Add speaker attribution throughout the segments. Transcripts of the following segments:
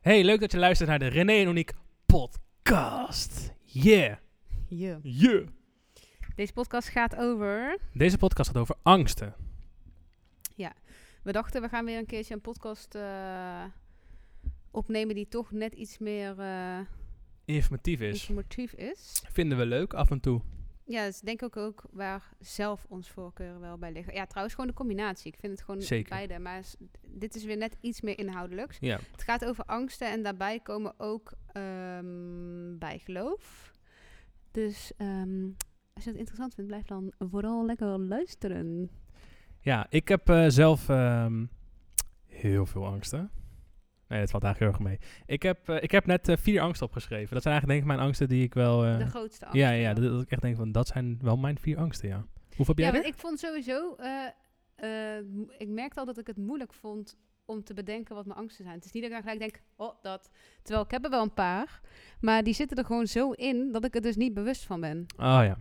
Speaker 1: Hey, leuk dat je luistert naar de René en Monique podcast. Yeah,
Speaker 2: Ja.
Speaker 1: yeah.
Speaker 2: Deze podcast gaat over.
Speaker 1: Deze podcast gaat over angsten.
Speaker 2: We dachten, we gaan weer een keertje een podcast eh, opnemen die toch net iets meer eh,
Speaker 1: Informatief is.
Speaker 2: informatief is.
Speaker 1: Vinden we leuk af en toe.
Speaker 2: Ja, dat is denk ik ook waar zelf ons voorkeur wel bij liggen. Ja, trouwens gewoon de combinatie. Ik vind het gewoon
Speaker 1: Zeker.
Speaker 2: beide. Maar s- dit is weer net iets meer inhoudelijks.
Speaker 1: Ja,
Speaker 2: Het gaat over angsten en daarbij komen ook ehm, bijgeloof. Dus ehm, als je het interessant vindt, blijf dan vooral lekker luisteren.
Speaker 1: ja ik heb eh, zelf ehm, heel veel angsten. Nee, dat valt eigenlijk heel erg mee. Ik heb, eh, ik heb net eh, vier angsten opgeschreven. Dat zijn eigenlijk denk ik mijn angsten die ik wel... eh,
Speaker 2: de grootste angst.
Speaker 1: ja, ja, dat, dat ik echt denk van, dat zijn wel mijn vier angsten, ja. Hoeveel heb jij
Speaker 2: Ja, want
Speaker 1: er?
Speaker 2: ik vond sowieso... eh, eh, mo- ik merkte al dat ik het moeilijk vond om te bedenken wat mijn angsten zijn. Het is niet dat ik dan gelijk denk, oh, dat. Terwijl ik heb er wel een paar. Maar die zitten er gewoon zo in dat ik er dus niet bewust van ben.
Speaker 1: Oh ja,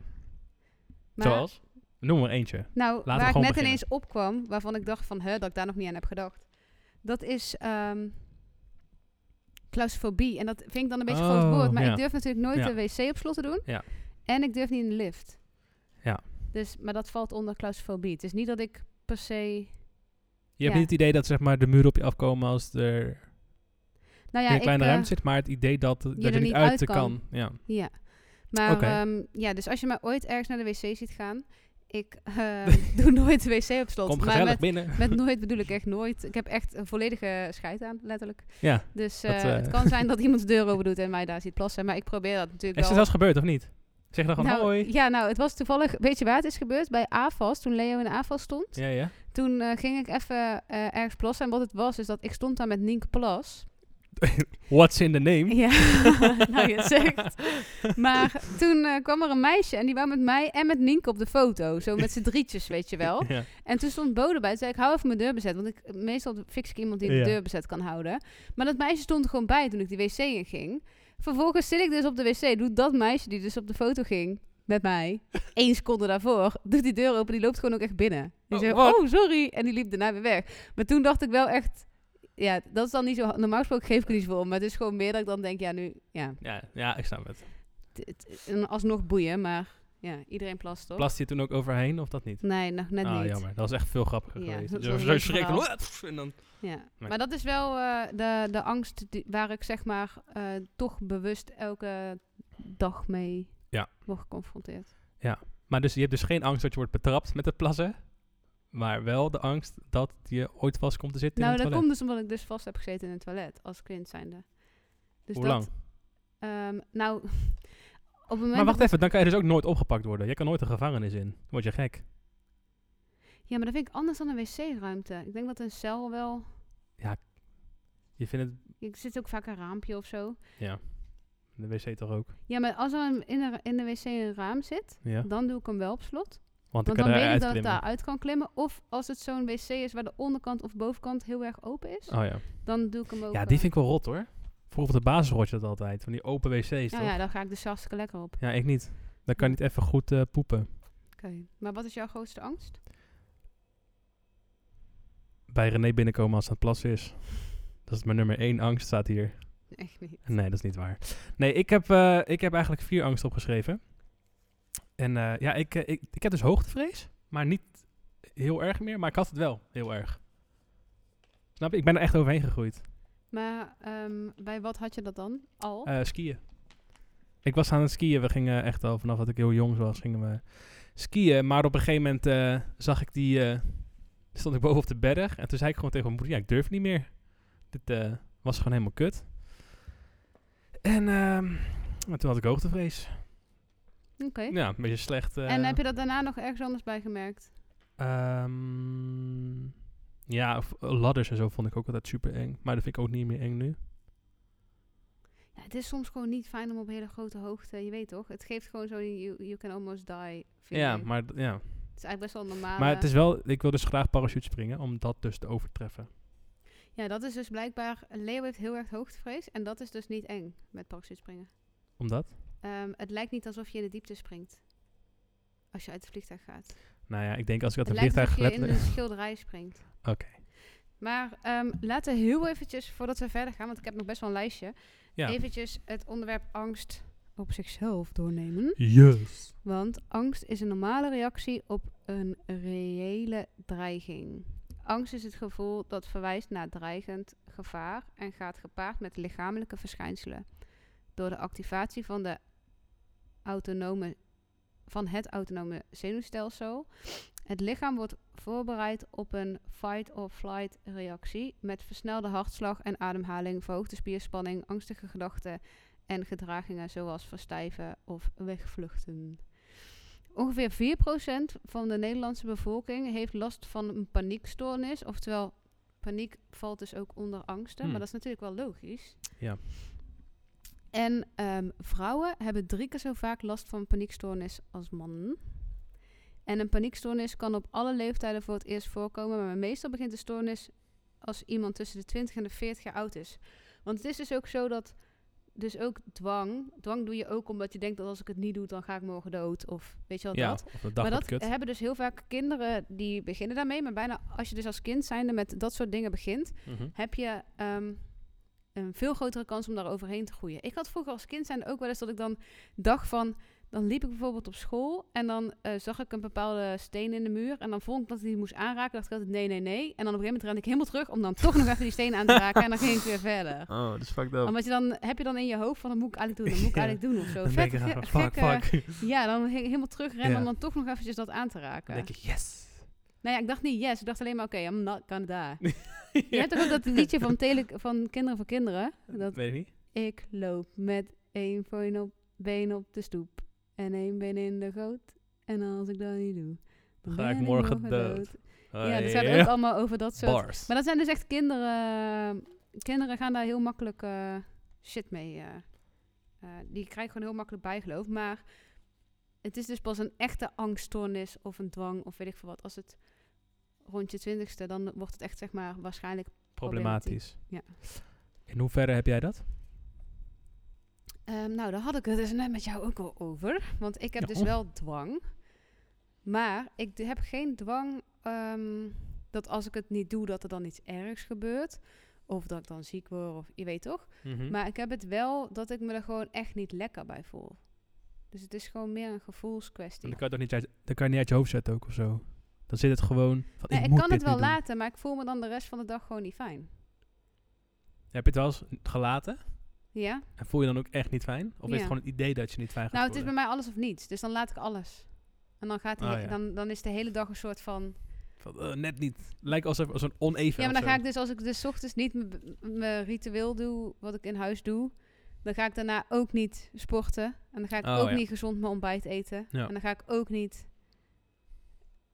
Speaker 2: Maar,
Speaker 1: zoals? Noem maar eentje.
Speaker 2: Nou,
Speaker 1: we
Speaker 2: waar ik
Speaker 1: gewoon
Speaker 2: net
Speaker 1: beginnen.
Speaker 2: ineens opkwam, waarvan ik dacht van, hè, dat ik daar nog niet aan heb gedacht. Dat is ehm claustrofobie. En dat vind ik dan een beetje groot
Speaker 1: Oh,
Speaker 2: woord. Maar
Speaker 1: ja.
Speaker 2: ik durf natuurlijk nooit
Speaker 1: Ja.
Speaker 2: de wc op slot te doen.
Speaker 1: Ja.
Speaker 2: En ik durf niet in de lift.
Speaker 1: Ja.
Speaker 2: Dus, maar dat valt onder claustrofobie. Het is niet dat ik per se...
Speaker 1: Je hebt
Speaker 2: Ja.
Speaker 1: niet het idee dat zeg maar, de muren op je afkomen als er
Speaker 2: Nou ja,
Speaker 1: in een kleine
Speaker 2: ik, eh,
Speaker 1: ruimte zit, maar het idee dat, dat je er niet uit kan. Ja.
Speaker 2: Ja. Maar
Speaker 1: Oké.
Speaker 2: ehm, ja, dus als je mij ooit ergens naar de wc ziet gaan... Ik ehm, doe nooit de wc op slot.
Speaker 1: Kom
Speaker 2: maar
Speaker 1: gezellig
Speaker 2: met,
Speaker 1: binnen.
Speaker 2: met nooit bedoel ik echt nooit. Ik heb echt een volledige scheid aan, letterlijk.
Speaker 1: Ja.
Speaker 2: Dus
Speaker 1: Dat,
Speaker 2: eh,
Speaker 1: eh,
Speaker 2: het kan zijn dat iemand de deur open doet en mij daar ziet plassen. Maar ik probeer dat natuurlijk
Speaker 1: Is het
Speaker 2: wel.
Speaker 1: zelfs gebeurd of niet? Zeg dan gewoon
Speaker 2: nou,
Speaker 1: hoi.
Speaker 2: Ja, nou, het was toevallig... Weet je waar het is gebeurd? Bij AFAS, toen Leo in AFAS stond.
Speaker 1: Ja, ja.
Speaker 2: Toen eh, ging ik even eh, ergens plassen. En wat het was, is dat ik stond daar met Nienke Plas.
Speaker 1: What's in the name?
Speaker 2: Ja, nou je het zegt. Maar toen eh, kwam er een meisje en die wou met mij en met Nienke op de foto. Zo met z'n drietjes, weet je wel.
Speaker 1: Ja.
Speaker 2: En toen stond Bode bij. Toen zei ik, hou even mijn deur bezet. Want ik, meestal fix ik iemand die
Speaker 1: Ja.
Speaker 2: de deur bezet kan houden. Maar dat meisje stond er gewoon bij toen ik die wc in ging. Vervolgens zit ik dus op de wc. Doet dat meisje die dus op de foto ging met mij. één seconde daarvoor. Doet die deur open. Die loopt gewoon ook echt binnen. Die
Speaker 1: Oh,
Speaker 2: zegt,
Speaker 1: wat?
Speaker 2: oh sorry. En die liep daarna weer weg. Maar toen dacht ik wel echt... Ja, dat is dan niet zo... Normaal gesproken geef ik er niet zoveel om. Maar het is gewoon meer dat ik dan denk, ja nu... Ja,
Speaker 1: Ja, ja, ik snap het.
Speaker 2: het- het- en alsnog boeien. Maar ja, iedereen plast toch?
Speaker 1: Plast je toen ook overheen of dat niet?
Speaker 2: Nee, nog net
Speaker 1: ah,
Speaker 2: niet.
Speaker 1: jammer. Dat was echt veel grappiger
Speaker 2: Ja,
Speaker 1: geweest.
Speaker 2: dat
Speaker 1: Zo-
Speaker 2: was een
Speaker 1: Zo
Speaker 2: leuk
Speaker 1: schrik
Speaker 2: verhaal.
Speaker 1: van, "Oeh, pff," en dan...
Speaker 2: Ja,
Speaker 1: Nee.
Speaker 2: maar dat is wel eh, de, de angst die- waar ik zeg maar eh, toch bewust elke dag mee
Speaker 1: Ja.
Speaker 2: word geconfronteerd.
Speaker 1: Maar dus je hebt dus geen angst dat je wordt betrapt met het plassen, maar wel de angst dat je ooit vast komt te zitten
Speaker 2: nou,
Speaker 1: in
Speaker 2: dat
Speaker 1: het
Speaker 2: komt
Speaker 1: toilet.
Speaker 2: dus omdat ik dus vast heb gezeten in een toilet als kind zijnde. Dus
Speaker 1: Hoe lang?
Speaker 2: dat, ehm, nou, op het moment.
Speaker 1: Maar
Speaker 2: dat-
Speaker 1: wacht even, dan kan je dus ook nooit opgepakt worden. Jij kan nooit de gevangenis in. Dan word je gek. e-
Speaker 2: Ja, maar dat vind ik anders dan een wc-ruimte. Ik denk dat een cel wel.
Speaker 1: Je vindt het
Speaker 2: Ik zit ook vaak een raampje of zo.
Speaker 1: De wc toch ook?
Speaker 2: Ja, maar als er een- in, de, in de wc een raam zit,
Speaker 1: Ja.
Speaker 2: dan doe ik hem wel op slot.
Speaker 1: Want ik kan
Speaker 2: Want dan weet ik
Speaker 1: eruit
Speaker 2: dat het
Speaker 1: klimmen.
Speaker 2: daaruit kan klimmen. Of als het zo'n wc is waar de onderkant of bovenkant heel erg open is,
Speaker 1: Oh ja.
Speaker 2: dan doe ik hem ook.
Speaker 1: Ja,
Speaker 2: eh,
Speaker 1: die vind ik wel rot hoor. Vroeger op de basis hoort je dat altijd. Van die open wc's toch?
Speaker 2: Nou ja, dan ga ik dus hartstikke lekker op.
Speaker 1: Ja, ik niet. Dan kan je niet even goed eh, poepen.
Speaker 2: Oké. Maar wat is jouw grootste angst?
Speaker 1: Bij René binnenkomen als het aan het plassen is. Dat is mijn nummer één angst staat hier.
Speaker 2: Echt niet.
Speaker 1: Nee, dat is niet waar. Nee, ik heb, eh, ik heb eigenlijk vier angsten opgeschreven. En eh, ja, ik, eh, ik, ik heb dus hoogtevrees. Maar niet heel erg meer. Maar ik had het wel heel erg. Snap je? Ik ben er echt overheen gegroeid.
Speaker 2: Maar ehm, bij wat had je dat dan al?
Speaker 1: Eh, skiën. Ik was aan het skiën. We gingen echt al vanaf dat ik heel jong was, gingen we skiën. Maar op een gegeven moment eh, zag ik die... eh, stond ik boven op de berg. En toen zei ik gewoon tegen mijn moeder, ja, ik durf niet meer. Dit eh, was gewoon helemaal kut. En ehm, en toen had ik hoogtevrees.
Speaker 2: Oké.
Speaker 1: Ja, een beetje slecht. eh,
Speaker 2: En heb je dat daarna nog ergens anders bij gemerkt?
Speaker 1: ehm, ja, of eh, ladders en zo vond ik ook altijd super eng. Maar dat vind ik ook niet meer eng nu.
Speaker 2: Ja, het is soms gewoon niet fijn om op hele grote hoogte, je weet toch? Het geeft gewoon zo'n you, you can almost die feeling.
Speaker 1: ja, maar d- ja.
Speaker 2: Het is eigenlijk best wel normaal.
Speaker 1: maar het is wel... Ik wil dus graag parachute springen, om dat dus te overtreffen.
Speaker 2: Ja, dat is dus blijkbaar... Leo heeft heel erg hoogtevrees en dat is dus niet eng met parachutespringen.
Speaker 1: Omdat?
Speaker 2: Ehm, het lijkt niet alsof je in de diepte springt. Als je uit het vliegtuig gaat.
Speaker 1: Nou ja, ik denk als ik uit
Speaker 2: het
Speaker 1: een
Speaker 2: lijkt dus-
Speaker 1: vliegtuig
Speaker 2: alsof je in
Speaker 1: letterlijk...
Speaker 2: een schilderij springt.
Speaker 1: Oké.
Speaker 2: Maar ehm, laten we heel eventjes, voordat we verder gaan, want ik heb nog best wel een lijstje,
Speaker 1: Ja.
Speaker 2: eventjes het onderwerp angst op zichzelf doornemen.
Speaker 1: Yes.
Speaker 2: Want angst is een normale reactie op een reële dreiging. Angst is het gevoel dat verwijst naar dreigend gevaar en gaat gepaard met lichamelijke verschijnselen. Door de activatie van, de autonome, van het autonome zenuwstelsel. Het lichaam wordt voorbereid op een fight-or-flight reactie met versnelde hartslag en ademhaling, verhoogde spierspanning, angstige gedachten en gedragingen zoals verstijven of wegvluchten. Ongeveer 4% van de Nederlandse bevolking heeft last van een paniekstoornis. Oftewel, paniek valt dus ook onder angsten.
Speaker 1: Hmm.
Speaker 2: Maar dat is natuurlijk wel logisch.
Speaker 1: Ja.
Speaker 2: En ehm, vrouwen hebben drie keer zo vaak last van paniekstoornis als mannen. En een paniekstoornis kan op alle leeftijden voor het eerst voorkomen. Maar meestal begint de stoornis als iemand tussen de 20 en de 40 jaar oud is. Want het is dus ook zo dat dus ook dwang. Dwang doe je ook omdat je denkt dat als ik het niet doe, dan ga ik morgen dood. Of weet je wel
Speaker 1: ja,
Speaker 2: dat.
Speaker 1: of dat
Speaker 2: Maar
Speaker 1: dag
Speaker 2: dat
Speaker 1: wordt kut.
Speaker 2: hebben dus heel vaak kinderen die beginnen daarmee. Maar bijna als je dus als kind zijnde met dat soort dingen begint,
Speaker 1: Mhm.
Speaker 2: heb je ehm, een veel grotere kans om daar overheen te groeien. Ik had vroeger als kind zijn ook wel eens dat ik dan dacht van... Dan liep ik bijvoorbeeld op school en dan eh, zag ik een bepaalde steen in de muur. En dan vond ik dat ik die moest aanraken. dacht ik altijd nee, nee, nee. En dan op een gegeven moment rende ik helemaal terug om dan toch nog even die steen aan te raken. En dan ging ik weer verder.
Speaker 1: Oh, dat is fucked up.
Speaker 2: Omdat je dan, heb je dan in je hoofd van, dat moet ik eigenlijk doen, dat moet ik
Speaker 1: Ja.
Speaker 2: eigenlijk doen of zo.
Speaker 1: Dan denk je,
Speaker 2: Vet
Speaker 1: ah,
Speaker 2: ge-
Speaker 1: fuck,
Speaker 2: gekke-
Speaker 1: fuck.
Speaker 2: Ja, dan he- helemaal terugrennen
Speaker 1: Ja.
Speaker 2: om dan toch nog eventjes dat aan te raken.
Speaker 1: Dan denk ik, yes.
Speaker 2: Nou ja, ik dacht niet yes, ik dacht alleen maar oké, I'm not Canada. Je hebt toch ook dat liedje van, tele van Kinderen voor Kinderen? Dat
Speaker 1: Weet ik niet.
Speaker 2: ik loop met één been op, been op de stoep en één been in de goot. En als ik dat niet doe, dan
Speaker 1: Ga
Speaker 2: ben
Speaker 1: ik morgen dood.
Speaker 2: Ja, dat gaat
Speaker 1: Ah,
Speaker 2: ook allemaal over dat soort...
Speaker 1: Bars.
Speaker 2: Maar dat zijn dus echt kinderen. Kinderen gaan daar heel makkelijk eh, shit mee. eh. Eh, die krijgen gewoon heel makkelijk bijgeloof. Maar het is dus pas een echte angststoornis of een dwang of weet ik veel wat. Als het rond je twintigste, dan wordt het echt zeg maar waarschijnlijk.
Speaker 1: Problematisch.
Speaker 2: Ja.
Speaker 1: In hoeverre heb jij dat?
Speaker 2: Ehm, nou, daar had ik het dus net met jou ook al over. Want ik heb
Speaker 1: Ja.
Speaker 2: dus wel dwang. Maar ik d- heb geen dwang ehm, dat als ik het niet doe, dat er dan iets ergs gebeurt. Of dat ik dan ziek word, of je weet toch? Mhm.
Speaker 1: Hm.
Speaker 2: Maar ik heb het wel dat ik me er gewoon echt niet lekker bij voel. Dus het is gewoon meer een
Speaker 1: dan
Speaker 2: gevoelskwestie.
Speaker 1: kan je het ook niet uit, dan kan je niet uit je hoofd zetten ook of zo. Dan zit het gewoon van,
Speaker 2: Nee,
Speaker 1: ik,
Speaker 2: ik
Speaker 1: moet
Speaker 2: kan
Speaker 1: dit
Speaker 2: het wel
Speaker 1: nu doen.
Speaker 2: laten, maar ik voel me dan de rest van de dag gewoon niet fijn.
Speaker 1: Heb je het wel eens gelaten?
Speaker 2: Ja?
Speaker 1: En voel je dan ook echt niet fijn? Of is
Speaker 2: Ja.
Speaker 1: het gewoon het idee dat je niet fijn gaat
Speaker 2: Nou, het is bij
Speaker 1: voelen?
Speaker 2: mij alles of niets. Dus dan laat ik alles. En dan, gaat de
Speaker 1: Ah,
Speaker 2: he-
Speaker 1: ja.
Speaker 2: dan, dan is de hele dag een soort van...
Speaker 1: Van, eh, net niet. Lijkt alsof als een oneven
Speaker 2: Ja, maar dan
Speaker 1: of
Speaker 2: ga
Speaker 1: zo.
Speaker 2: ik dus, als ik dus 's ochtends niet mijn- mijn ritueel doe, wat ik in huis doe... Dan ga ik daarna ook niet sporten. En dan ga ik
Speaker 1: Oh,
Speaker 2: ook
Speaker 1: ja.
Speaker 2: niet gezond mijn ontbijt eten.
Speaker 1: Ja.
Speaker 2: En dan ga ik ook niet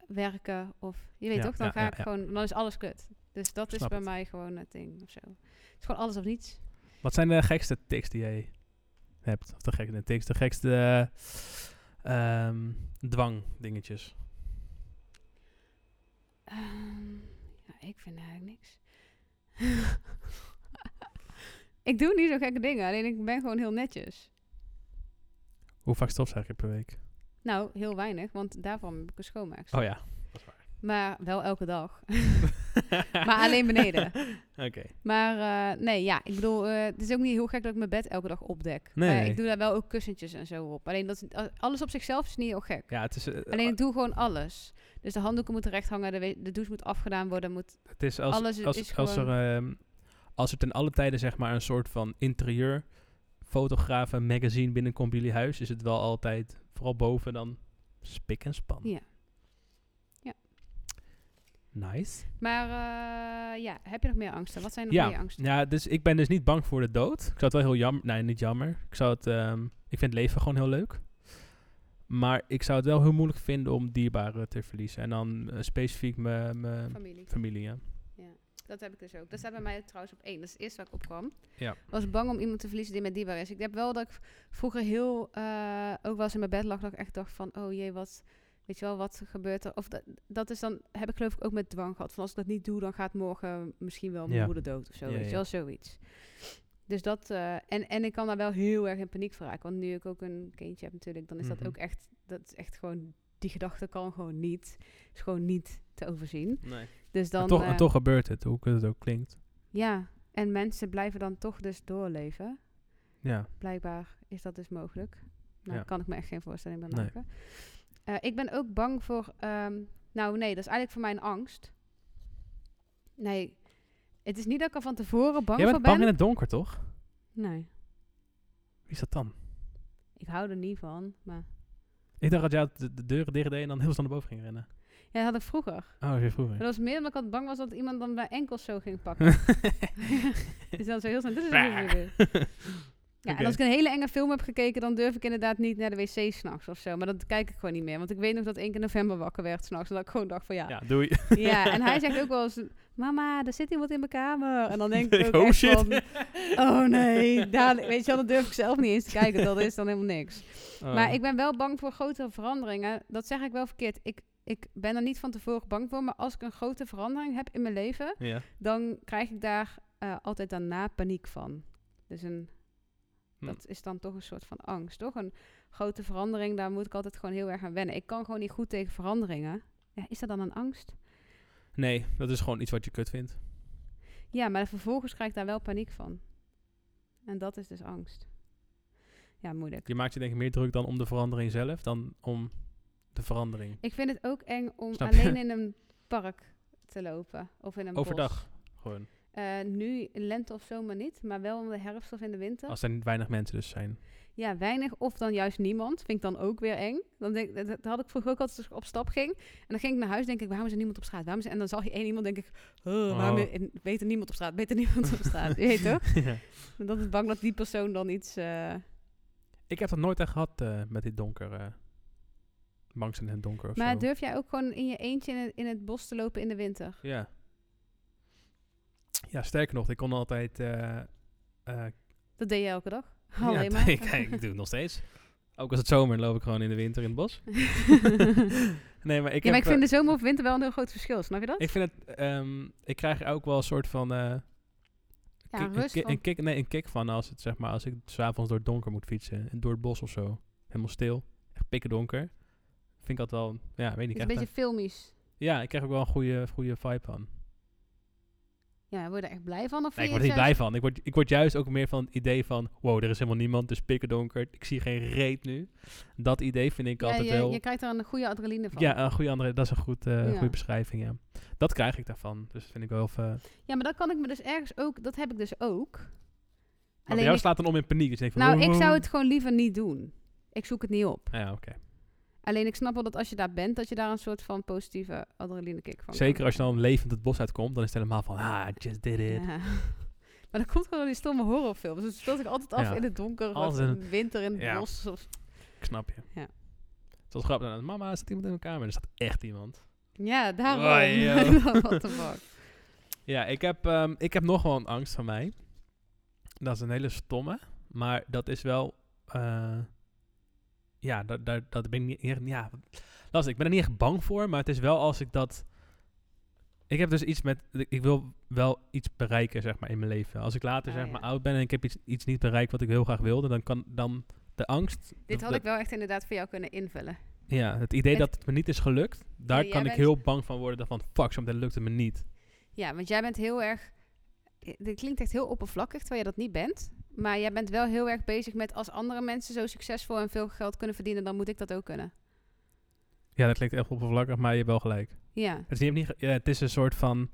Speaker 2: werken. Of je weet
Speaker 1: Ja,
Speaker 2: toch, dan
Speaker 1: ja,
Speaker 2: ga
Speaker 1: ja,
Speaker 2: ik
Speaker 1: ja.
Speaker 2: gewoon, dan is alles kut. Dus dat is
Speaker 1: Snap
Speaker 2: bij
Speaker 1: het.
Speaker 2: mij gewoon het ding of zo. Het is gewoon alles of niets.
Speaker 1: Wat zijn de gekste tics die jij hebt? Of de gekste tics, de gekste eh, ehm, dwangdingetjes.
Speaker 2: Ehm, ja, ik vind eigenlijk niks. ik doe niet zo gekke dingen, alleen ik ben gewoon heel netjes.
Speaker 1: Hoe vaak stofzuig je per week?
Speaker 2: Nou, heel weinig, want daarvan heb ik een schoonmaakster.
Speaker 1: Oh ja.
Speaker 2: Maar wel elke dag. maar alleen beneden.
Speaker 1: Oké.
Speaker 2: Maar eh, nee, ja, ik bedoel, eh, het is ook niet heel gek dat ik mijn bed elke dag opdek.
Speaker 1: Nee,
Speaker 2: Maar
Speaker 1: nee.
Speaker 2: ik doe daar wel ook kussentjes en zo op. Alleen dat is- alles op zichzelf is niet heel gek.
Speaker 1: Ja, het is, eh,
Speaker 2: Alleen ik doe gewoon alles. Dus de handdoeken moeten recht hangen, de, we- de douche moet afgedaan worden. Moet,
Speaker 1: Het is als,
Speaker 2: Alles
Speaker 1: als,
Speaker 2: is
Speaker 1: als, er, ehm, als er ten alle tijden zeg maar een soort van interieur fotograaf en magazine binnenkomt bij jullie huis, is het wel altijd, vooral boven dan, spik en span.
Speaker 2: Ja. Ja.
Speaker 1: Nice.
Speaker 2: maar eh, ja, heb je nog meer angsten? Wat zijn nog meer angsten?
Speaker 1: Ja, dus ik ben dus niet bang voor de dood. Ik zou het wel heel jammer... Nee, niet jammer. Ik zou het... ehm, ik vind het leven gewoon heel leuk. Maar ik zou het wel heel moeilijk vinden om dierbaren te verliezen. En dan eh, specifiek mijn mijn
Speaker 2: Familie.
Speaker 1: familie, ja.
Speaker 2: Dat heb ik dus ook. Dat staat bij mij trouwens op één. Dat is het eerste waar ik op kwam.
Speaker 1: Ja.
Speaker 2: was bang om iemand te verliezen die mij dierbaar is. Ik heb wel dat ik vroeger heel, eh, ook wel eens in mijn bed lag, dat ik echt dacht van, oh jee, wat, weet je wel, wat gebeurt er? Of dat, dat is dan, heb ik geloof ik ook met dwang gehad. Van als ik dat niet doe, dan gaat morgen misschien wel mijn
Speaker 1: Ja.
Speaker 2: moeder dood of zo,
Speaker 1: Ja,
Speaker 2: weet
Speaker 1: ja.
Speaker 2: je wel, zoiets. Dus dat, eh, en, en ik kan daar wel heel erg in paniek voor raken. Want nu ik ook een kindje heb natuurlijk, dan is
Speaker 1: Mhm.
Speaker 2: dat ook echt, dat is echt gewoon die gedachte kan gewoon niet. Is gewoon niet te overzien.
Speaker 1: Nee.
Speaker 2: Dus dan.
Speaker 1: en, toch, en
Speaker 2: eh,
Speaker 1: toch gebeurt het, hoe kut het ook klinkt.
Speaker 2: Ja, en mensen blijven dan toch dus doorleven.
Speaker 1: Ja.
Speaker 2: Blijkbaar is dat dus mogelijk. Nou,
Speaker 1: Ja.
Speaker 2: kan ik me echt geen voorstelling bij
Speaker 1: Nee.
Speaker 2: maken. Eh, ik ben ook bang voor. ehm, nou, nee, dat is eigenlijk voor mijn angst. Nee, het is niet dat ik er van tevoren bang
Speaker 1: Jij
Speaker 2: voor
Speaker 1: bent bang
Speaker 2: ben.
Speaker 1: in het donker, toch?
Speaker 2: Nee,
Speaker 1: Wie is dat dan?
Speaker 2: ik hou er niet van. Maar
Speaker 1: Ik dacht dat jij de, de deuren dicht deed en dan heel snel naar boven ging rennen.
Speaker 2: ja, dat had ik vroeger.
Speaker 1: Oh, je
Speaker 2: Maar
Speaker 1: vroeger.
Speaker 2: dat was meer omdat ik altijd bang was dat iemand dan mijn enkels zo ging pakken. dus dan zo heel snel. dit is- dit is- dit is- Ja,
Speaker 1: Oké.
Speaker 2: en als ik een hele enge film heb gekeken, dan durf ik inderdaad niet naar de wc s'nachts of zo. Maar dat kijk ik gewoon niet meer. Want ik weet nog dat ik in november wakker werd s'nachts. En dat ik gewoon dacht van ja. ja.
Speaker 1: Ja, doei.
Speaker 2: en hij zegt ook wel eens, mama, er zit iemand in mijn kamer. En dan denk
Speaker 1: Nee,
Speaker 2: ik ook
Speaker 1: oh
Speaker 2: echt
Speaker 1: shit.
Speaker 2: van, oh nee. Daar, weet je wel, dan durf ik zelf niet eens te kijken. Dat is dan helemaal niks.
Speaker 1: Oh.
Speaker 2: Maar ik ben wel bang voor grotere veranderingen. Dat zeg ik wel verkeerd. Ik, ik ben er niet van tevoren bang voor. Maar als ik een grote verandering heb in mijn leven,
Speaker 1: Oh. Ja.
Speaker 2: dan krijg ik daar eh, altijd daarna paniek van. Dus een,
Speaker 1: Hm.
Speaker 2: dat is dan toch een soort van angst, toch? Een grote verandering, daar moet ik altijd gewoon heel erg aan wennen. Ik kan gewoon niet goed tegen veranderingen. Ja, is dat dan een angst?
Speaker 1: Nee, dat is gewoon iets wat je kut vindt.
Speaker 2: Ja, maar vervolgens krijg ik daar wel paniek van. En dat is dus angst. Ja, moeilijk.
Speaker 1: Je maakt je denk ik meer druk dan om de verandering zelf, dan om de verandering.
Speaker 2: Ik vind het ook eng om
Speaker 1: Snap je?
Speaker 2: alleen in een park te lopen of in een bos.
Speaker 1: Overdag gewoon.
Speaker 2: Eh, nu in lente of zomer niet, maar wel in de herfst of in de winter.
Speaker 1: Als er niet weinig mensen dus zijn.
Speaker 2: Ja, weinig of dan juist niemand. Vind ik dan ook weer eng. Dan denk, dat, dat had ik vroeger ook altijd als ik op stap ging. En dan ging ik naar huis denk ik, waarom is er niemand op straat? Waarom is er- En dan zag je één iemand, denk ik, oh, waarom
Speaker 1: Oh.
Speaker 2: en beter niemand op straat? Beter niemand op straat. Je weet toch?
Speaker 1: Ja.
Speaker 2: En Dat is bang dat die persoon dan iets... eh,
Speaker 1: Ik heb dat nooit echt gehad eh, met dit donker. eh bang zijn in het donker of zo.
Speaker 2: Maar durf jij ook gewoon in je eentje in het, in het bos te lopen in de winter?
Speaker 1: Ja. Ja, sterker nog, ik kon altijd... eh, eh,
Speaker 2: Dat deed je elke dag?
Speaker 1: ja,
Speaker 2: Alleen maar.
Speaker 1: ik, ik doe het nog steeds. Ook als het zomer loop ik gewoon in de winter in het bos. Nee, maar ik, heb,
Speaker 2: ja, maar ik
Speaker 1: eh,
Speaker 2: vind de zomer of winter wel een heel groot verschil, snap je dat?
Speaker 1: ik vind het... ehm, ik krijg er ook wel een soort van... eh,
Speaker 2: ja,
Speaker 1: kick- een,
Speaker 2: rust
Speaker 1: ki-
Speaker 2: van-
Speaker 1: een kick, nee, een kick van als, het, zeg maar, als ik s'avonds door het donker moet fietsen. En door het bos of zo. Helemaal stil. Echt pikken donker. Vind ik dat wel... Ja, weet niet. ik
Speaker 2: het is een
Speaker 1: krijg
Speaker 2: beetje filmisch.
Speaker 1: daar- Ja, ik krijg ook wel een goede, goede vibe van.
Speaker 2: Ja, word je er echt blij van? Of
Speaker 1: Nee, ik word
Speaker 2: vind je
Speaker 1: er niet
Speaker 2: het
Speaker 1: blij
Speaker 2: juist-
Speaker 1: van. Ik word, ik word juist ook meer van het idee van... Wow, er is helemaal niemand, dus pikken donker. Ik zie geen reet nu. Dat idee vind ik altijd
Speaker 2: Ja, je,
Speaker 1: wel...
Speaker 2: je krijgt er een goede adrenaline van.
Speaker 1: ja, een goede andere, dat is een goed, eh,
Speaker 2: Ja.
Speaker 1: goede beschrijving, ja. Dat krijg ik daarvan. Dus dat vind ik wel... eh,
Speaker 2: Ja, maar dat kan ik me dus ergens ook, dat heb ik dus ook.
Speaker 1: maar bij jou slaat dan om in paniek. Dus je denkt
Speaker 2: ik,
Speaker 1: van,
Speaker 2: nou, ik
Speaker 1: "Oh."
Speaker 2: zou het gewoon liever niet doen. Ik zoek het niet op.
Speaker 1: Ja, oké.
Speaker 2: Alleen ik snap wel dat als je daar bent, dat je daar een soort van positieve adrenaline kick van
Speaker 1: Zeker als je
Speaker 2: krijgt.
Speaker 1: dan levend het bos uitkomt, dan is het helemaal van, ah, I just did it.
Speaker 2: Ja. Maar dat komt gewoon door die stomme horrorfilms. Dus het speelt zich altijd af
Speaker 1: Ja.
Speaker 2: in het donker, of
Speaker 1: Altijd
Speaker 2: in de winter, in het
Speaker 1: Ja.
Speaker 2: bos. Of,
Speaker 1: Ik snap je.
Speaker 2: Ja.
Speaker 1: Het was grappig. Dan, Mama, er zit iemand in mijn kamer? Er staat echt iemand.
Speaker 2: ja, daarom.
Speaker 1: Oei, joh.
Speaker 2: What the fuck.
Speaker 1: Ja, ik heb, ehm, ik heb nog wel een angst van mij. Dat is een hele stomme, maar dat is wel... eh, ja, dat, dat, dat ben ik niet echt... Ja, lastig. Ik ben er niet echt bang voor, maar het is wel als ik dat... Ik heb dus iets met... Ik wil wel iets bereiken, zeg maar, in mijn leven. Als ik later,
Speaker 2: Ah,
Speaker 1: zeg
Speaker 2: ja.
Speaker 1: maar, oud ben en ik heb iets, iets niet bereikt wat ik heel graag wilde, dan kan dan de angst...
Speaker 2: Dit
Speaker 1: de-
Speaker 2: had
Speaker 1: de-
Speaker 2: ik wel echt inderdaad voor jou kunnen invullen.
Speaker 1: Ja, het idee
Speaker 2: Het-
Speaker 1: dat het me niet is gelukt, daar
Speaker 2: jij
Speaker 1: kan ik
Speaker 2: bent-
Speaker 1: heel bang van worden. dat Van fuck, zometeen lukt het me niet.
Speaker 2: Ja, want jij bent heel erg. Dit klinkt echt heel oppervlakkig, terwijl je dat niet bent. Maar jij bent wel heel erg bezig met als andere mensen zo succesvol en veel geld kunnen verdienen, dan moet ik dat ook kunnen.
Speaker 1: Ja, dat klinkt echt oppervlakkig, maar je hebt wel gelijk.
Speaker 2: Ja.
Speaker 1: Het is, niet- niet, ge- ja, het is een soort van.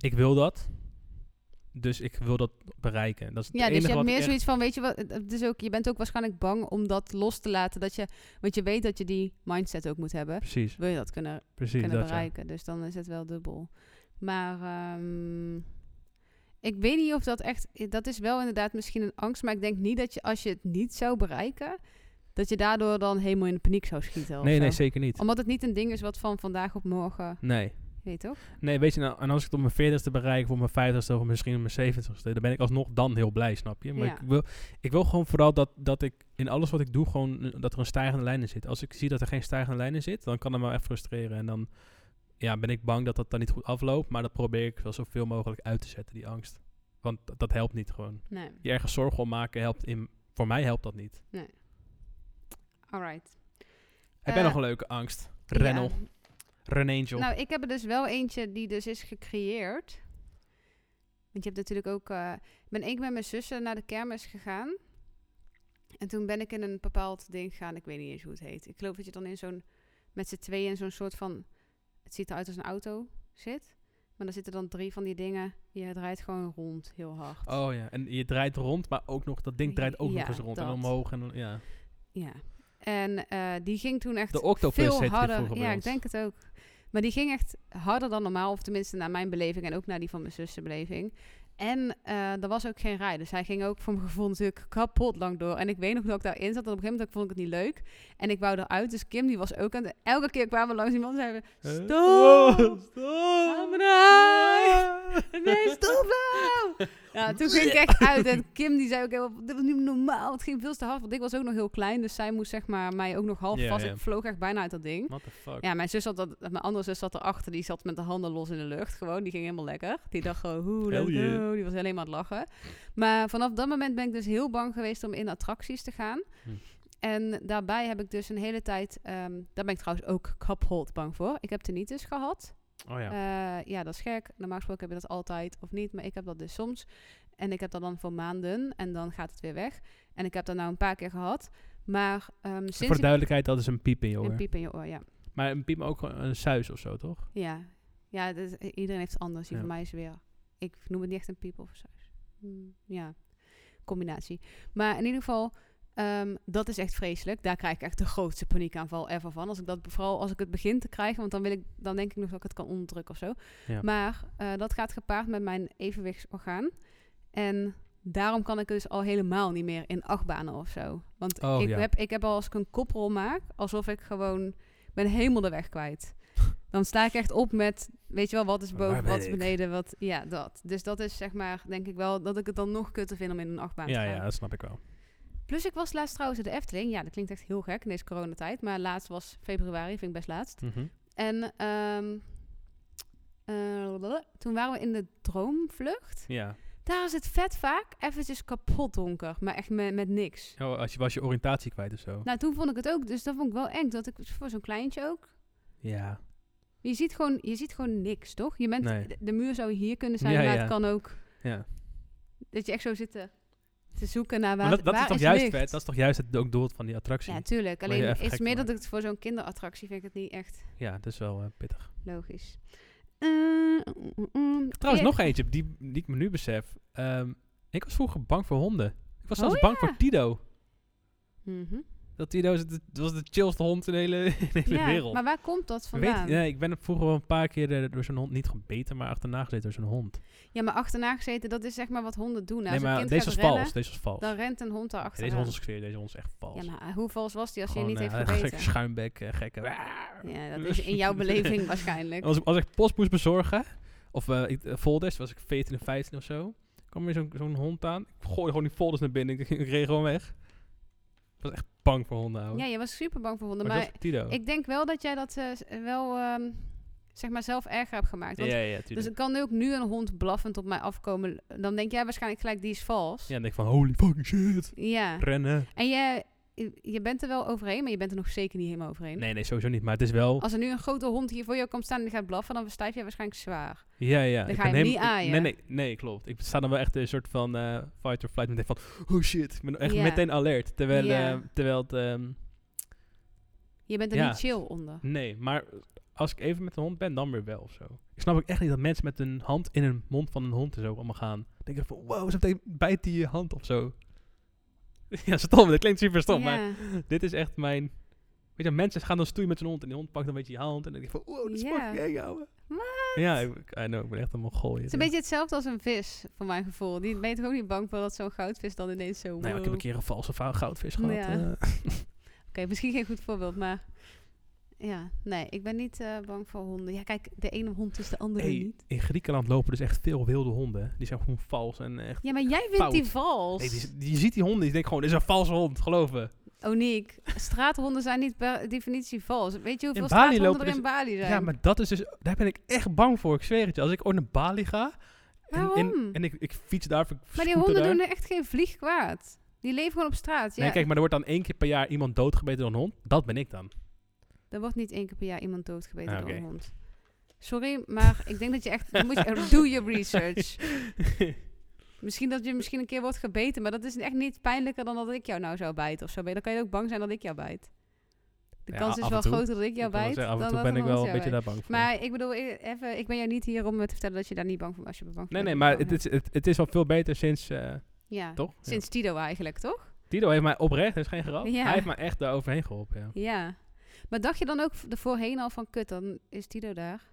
Speaker 1: Ik wil dat. Dus ik wil dat bereiken. Dat is het
Speaker 2: Ja,
Speaker 1: enige
Speaker 2: dus je hebt
Speaker 1: wat ik
Speaker 2: meer
Speaker 1: echt-
Speaker 2: zoiets van, weet je wat, het- het is ook, je bent ook waarschijnlijk bang om dat los te laten. Dat je, want je weet dat je die mindset ook moet hebben.
Speaker 1: Precies,
Speaker 2: Wil je dat kunnen,
Speaker 1: precies.
Speaker 2: kunnen
Speaker 1: Dat, ja.
Speaker 2: bereiken? Dus dan is het wel dubbel. Maar ehm, ik weet niet of dat echt, dat is wel inderdaad misschien een angst. Maar ik denk niet dat je, als je het niet zou bereiken, dat je daardoor dan helemaal in de paniek zou schieten. of
Speaker 1: Nee, nee,
Speaker 2: zo.
Speaker 1: zeker niet.
Speaker 2: Omdat het niet een ding is wat van vandaag op morgen,
Speaker 1: Nee.
Speaker 2: je weet toch?
Speaker 1: nee, weet je, nou, en als ik het op mijn veertigste bereik, of op mijn vijftigste, of misschien op mijn zeventigste, dan ben ik alsnog dan heel blij, snap je? Maar ik,
Speaker 2: Ja.
Speaker 1: wil, ik wil gewoon vooral dat, dat ik in alles wat ik doe, gewoon eh, dat er een stijgende lijn in zit. Als ik zie dat er geen stijgende lijn in zit, dan kan dat me echt frustreren. En dan ja, ben ik bang dat dat dan niet goed afloopt, maar dat probeer ik wel zoveel mogelijk uit te zetten, die angst. Want dat, dat helpt niet gewoon.
Speaker 2: Nee.
Speaker 1: je ergens zorgen om maken helpt in... Voor mij helpt dat niet.
Speaker 2: Alright.
Speaker 1: Heb jij
Speaker 2: Eh,
Speaker 1: nog een leuke angst? Rennel.
Speaker 2: Ja.
Speaker 1: Renangel.
Speaker 2: Nou, ik heb er dus wel eentje die dus is gecreëerd. Want je hebt natuurlijk ook... eh, ik ben één keer met mijn zussen naar de kermis gegaan. En toen ben ik in een bepaald ding gegaan. Ik weet niet eens hoe het heet. Ik geloof dat je dan in zo'n... Met z'n tweeën in zo'n soort van... Het ziet eruit als een auto zit. Maar dan zitten dan drie van die dingen. Je draait gewoon rond heel hard.
Speaker 1: oh ja, en je draait rond, maar ook nog, dat ding draait ook
Speaker 2: Ja,
Speaker 1: nog eens rond. En
Speaker 2: dat.
Speaker 1: omhoog en dan- ja.
Speaker 2: Ja. En eh, die ging toen echt
Speaker 1: De Octopus heette
Speaker 2: veel
Speaker 1: die
Speaker 2: harder.
Speaker 1: vroeger bij
Speaker 2: ja, ik
Speaker 1: ons.
Speaker 2: denk het ook. Maar die ging echt harder dan normaal, of tenminste naar mijn beleving en ook naar die van mijn zussenbeleving. En eh er was ook geen rij, dus hij ging ook voor mijn gevoel natuurlijk kapot lang door. En ik weet nog dat ik daarin zat en op een gegeven moment vond ik het niet leuk. En ik wou eruit, dus Kim die was ook aan de... Elke keer kwamen we langs die man en zeiden we,
Speaker 1: Huh?
Speaker 2: stop!
Speaker 1: Oh,
Speaker 2: Ga
Speaker 1: stop!
Speaker 2: maar naar huis! Nee, stop nou! Nou, toen ging ik echt uit en Kim die zei ook helemaal, dit was niet normaal, het ging veel te hard, want ik was ook nog heel klein, dus zij moest zeg maar mij ook nog half
Speaker 1: Ja,
Speaker 2: vast,
Speaker 1: ja.
Speaker 2: ik vloog echt bijna uit dat ding.
Speaker 1: What the fuck?
Speaker 2: Ja, mijn zus zat, dat, mijn andere zus zat erachter, die zat met de handen los in de lucht gewoon, die ging helemaal lekker. Die dacht gewoon, hoe
Speaker 1: Hell
Speaker 2: leuk,
Speaker 1: yeah.
Speaker 2: oh, die was alleen maar aan het lachen. Maar vanaf dat moment ben ik dus heel bang geweest om in attracties te gaan.
Speaker 1: Hm.
Speaker 2: En daarbij heb ik dus een hele tijd, ehm, daar ben ik trouwens ook kapot bang voor. Ik heb tinnitus gehad.
Speaker 1: Oh ja.
Speaker 2: Eh, ja, dat is gek. Normaal gesproken heb je dat altijd of niet. Maar ik heb dat dus soms. En ik heb dat dan voor maanden. En dan gaat het weer weg. En ik heb dat nou een paar keer gehad. Maar ehm sinds
Speaker 1: Voor de
Speaker 2: ik-
Speaker 1: duidelijkheid, dat is een piep in je
Speaker 2: een
Speaker 1: oor.
Speaker 2: piep in je oor, ja.
Speaker 1: Maar een piep, maar ook gewoon een suis of zo, toch?
Speaker 2: Ja, ja dus iedereen heeft het anders. Die
Speaker 1: Ja.
Speaker 2: van mij is weer... Ik noem het niet echt een piep of zo. Hmm, ja, combinatie. Maar in ieder geval, ehm, dat is echt vreselijk. Daar krijg ik echt de grootste paniekaanval ever van. Als ik dat, vooral als ik het begin te krijgen, want dan, wil ik, dan denk ik nog dat ik het kan onderdrukken of zo.
Speaker 1: Ja.
Speaker 2: Maar eh, dat gaat gepaard met mijn evenwichtsorgaan. En daarom kan ik dus al helemaal niet meer in achtbanen of zo. Want
Speaker 1: Oh,
Speaker 2: ik,
Speaker 1: ja.
Speaker 2: heb, ik heb al als ik een koprol maak, alsof ik gewoon ik ben helemaal de weg kwijt. Dan sta ik echt op met, weet je wel, wat is
Speaker 1: Waar
Speaker 2: boven,
Speaker 1: ben
Speaker 2: wat is
Speaker 1: ik?
Speaker 2: beneden, wat... Ja, dat. Dus dat is zeg maar, denk ik wel, dat ik het dan nog kutter vind om in een achtbaan
Speaker 1: Ja,
Speaker 2: te gaan.
Speaker 1: ja, dat snap ik wel.
Speaker 2: Plus ik was laatst trouwens in de Efteling. Ja, dat klinkt echt heel gek in deze coronatijd. Maar laatst was februari, vind ik best laatst.
Speaker 1: Mhm.
Speaker 2: En ehm, eh, toen waren we in de droomvlucht.
Speaker 1: Ja.
Speaker 2: Daar is het vet vaak eventjes kapot donker. Maar echt met, met niks.
Speaker 1: Oh, als je was je oriëntatie kwijt of zo.
Speaker 2: Nou, toen vond ik het ook. Dus dat vond ik wel eng. Dat ik voor zo'n kleintje ook...
Speaker 1: ja.
Speaker 2: Je ziet gewoon, je ziet gewoon niks, toch? Je bent,
Speaker 1: Nee.
Speaker 2: de, de muur zou hier kunnen zijn,
Speaker 1: Ja,
Speaker 2: maar
Speaker 1: ja.
Speaker 2: het kan ook
Speaker 1: ja.
Speaker 2: dat je echt zo zit te, te zoeken naar waar,
Speaker 1: Maar dat, dat
Speaker 2: waar
Speaker 1: is toch
Speaker 2: is
Speaker 1: juist
Speaker 2: licht?
Speaker 1: vet? Dat is toch juist het ook doel van die attractie?
Speaker 2: Ja,
Speaker 1: Ja,
Speaker 2: tuurlijk.
Speaker 1: Word je
Speaker 2: Alleen
Speaker 1: even
Speaker 2: is
Speaker 1: gek
Speaker 2: meer dat
Speaker 1: gemaakt.
Speaker 2: ik het voor zo'n kinderattractie vind ik het niet echt
Speaker 1: dat is wel eh, pittig.
Speaker 2: logisch. Eh, mm, mm, mm.
Speaker 1: Trouwens,
Speaker 2: Ja,
Speaker 1: nog eentje die, die ik me nu besef. Ehm, ik was vroeger bang voor honden. Ik was
Speaker 2: Oh,
Speaker 1: zelfs bang
Speaker 2: ja.
Speaker 1: voor Tido.
Speaker 2: mhm.
Speaker 1: Dat Tido is de, dat was de chillste hond in de hele, in de hele
Speaker 2: Ja,
Speaker 1: wereld.
Speaker 2: maar waar komt dat
Speaker 1: Ik weet,
Speaker 2: vandaan?
Speaker 1: ja, ik ben vroeger wel een paar keer eh, door zo'n hond niet gebeten, maar achterna gezeten door zo'n hond.
Speaker 2: Ja, maar achterna gezeten, dat is zeg maar wat honden doen. Als
Speaker 1: nee, maar
Speaker 2: een Nou, kind
Speaker 1: deze was
Speaker 2: gaat
Speaker 1: vals.
Speaker 2: rennen,
Speaker 1: Deze was vals.
Speaker 2: dan rent een hond daar
Speaker 1: Ja, deze
Speaker 2: achteraan.
Speaker 1: hond is gescheerd, deze hond is echt vals.
Speaker 2: ja, maar hoe vals was die als
Speaker 1: Gewoon,
Speaker 2: je niet
Speaker 1: eh,
Speaker 2: heeft
Speaker 1: gekke
Speaker 2: gebeten?
Speaker 1: Schuimbek, eh, gekke.
Speaker 2: Ja, dat is in jouw beleving waarschijnlijk.
Speaker 1: Als ik, als ik post moest bezorgen, of eh ik, eh, folders, was ik 14 of 15 of zo, kwam weer zo'n zo'n hond aan. Ik gooide gewoon die folders naar binnen, ik, ik reed gewoon weg. Ik was echt bang voor honden, ouwe.
Speaker 2: Ja, je was super bang voor honden.
Speaker 1: maar
Speaker 2: Maar
Speaker 1: dat was Tito.
Speaker 2: Ik denk wel dat jij dat eh, s- wel ehm, zeg maar zelf erger hebt gemaakt. Want
Speaker 1: ja, ja,
Speaker 2: dus
Speaker 1: tuurlijk.
Speaker 2: ik kan ook nu een hond blaffend op mij afkomen. Dan denk jij waarschijnlijk gelijk die is vals.
Speaker 1: ja, dan denk ik van, holy fucking shit,
Speaker 2: Ja.
Speaker 1: rennen.
Speaker 2: En jij, je bent er wel overheen, maar je bent er nog zeker niet helemaal overheen.
Speaker 1: Nee, nee, sowieso niet, maar het is wel...
Speaker 2: Als er nu een grote hond hier voor jou komt staan en die gaat blaffen, dan verstijf jij waarschijnlijk zwaar.
Speaker 1: ja, ja. ik
Speaker 2: ga
Speaker 1: ben
Speaker 2: je hem
Speaker 1: helemaal-
Speaker 2: niet
Speaker 1: ik-
Speaker 2: aaien.
Speaker 1: Nee, nee, nee, klopt. Ik sta dan wel echt een soort van eh, fight or flight meteen van, oh shit. Ik ben echt
Speaker 2: Ja.
Speaker 1: meteen alert, terwijl,
Speaker 2: Ja.
Speaker 1: eh, terwijl het... ehm,
Speaker 2: Je bent er
Speaker 1: Ja.
Speaker 2: niet chill onder.
Speaker 1: Nee, maar als ik even met een hond ben, dan weer wel of zo. Ik snap ook echt niet dat mensen met een hand in een mond van een hond en zo allemaal gaan. Dan Denk ik van, wow, zo meteen bijt die je hand of zo. ja, stom. Dat klinkt super stom, maar
Speaker 2: Ja.
Speaker 1: dit is echt mijn... Weet je, mensen gaan dan stoeien met hun hond en die hond pakt dan een beetje je hand. En dan denk ik van, wow, dat is
Speaker 2: Ja.
Speaker 1: fucking eng, ouwe.
Speaker 2: What?
Speaker 1: Ja, ik, I know, ik ben echt een mongool.
Speaker 2: Het is een beetje hetzelfde als een vis, voor mijn gevoel. Die ben je toch ook niet bang voor dat zo'n goudvis dan ineens zo...
Speaker 1: Nou ja, ik heb
Speaker 2: wow.
Speaker 1: een keer een valse vou- goudvis gehad.
Speaker 2: Nou Ja.
Speaker 1: eh.
Speaker 2: Oké, misschien geen goed voorbeeld, maar... Ja, nee, ik ben niet eh, bang voor honden. Ja, kijk, de ene hond is de andere
Speaker 1: Hey,
Speaker 2: niet.
Speaker 1: in Griekenland lopen dus echt veel wilde honden. Die zijn gewoon vals en echt...
Speaker 2: Ja, maar jij vindt die vals.
Speaker 1: Nee, die, die- je ziet die honden, je denkt gewoon, dit is een valse hond, geloof me.
Speaker 2: Oniek, Oh, straathonden zijn niet per definitie vals. Weet je hoeveel
Speaker 1: In Bali
Speaker 2: straathonden er
Speaker 1: lopen
Speaker 2: in Bali zijn?
Speaker 1: Ja, maar dat is dus, daar ben ik echt bang voor. Ik zweer het je. Als ik ooit naar Bali ga en, en-
Speaker 2: Waarom?
Speaker 1: en, ik, ik fiets daar, of ik
Speaker 2: Maar die
Speaker 1: scooter
Speaker 2: honden
Speaker 1: daar.
Speaker 2: doen er echt geen vlieg kwaad. Die leven gewoon op straat. Ja.
Speaker 1: Nee, kijk, maar er wordt dan één keer per jaar iemand doodgebeten door een hond. Dat ben ik dan.
Speaker 2: Er wordt niet één keer per jaar iemand doodgebeten
Speaker 1: Ah,
Speaker 2: door een
Speaker 1: oké.
Speaker 2: hond. Sorry, maar ik denk dat je echt... dan Moet je, doe je research. Misschien dat je misschien een keer wordt gebeten, maar dat is echt niet pijnlijker dan dat ik jou nou zou bijten of zo. Dan kan je ook bang zijn dat ik jou bijt. De
Speaker 1: Ja,
Speaker 2: kans
Speaker 1: af
Speaker 2: is
Speaker 1: en
Speaker 2: wel
Speaker 1: toe.
Speaker 2: groter dat ik jou
Speaker 1: Ik kan wel
Speaker 2: bijt.
Speaker 1: zeggen, Af
Speaker 2: dan
Speaker 1: en toe
Speaker 2: dat
Speaker 1: ben ik
Speaker 2: hond
Speaker 1: wel een
Speaker 2: jou
Speaker 1: beetje
Speaker 2: bijt.
Speaker 1: daar bang voor.
Speaker 2: Maar ik bedoel, e- even, ik ben jou niet hier om eh, te vertellen dat je daar niet bang voor was. Je bent bang voor
Speaker 1: nee, nee,
Speaker 2: bent,
Speaker 1: maar
Speaker 2: ben je
Speaker 1: het
Speaker 2: bang,
Speaker 1: is, het, het is wel veel beter sinds, eh,
Speaker 2: ja. Ja,
Speaker 1: toch? Ja.
Speaker 2: sinds Tido eigenlijk, toch?
Speaker 1: Tito heeft mij oprecht, dat is geen grap.
Speaker 2: Ja.
Speaker 1: Hij heeft mij echt daar overheen geholpen, ja.
Speaker 2: Ja. Maar dacht je dan ook v- ervoorheen al van, kut, dan is Tido daar?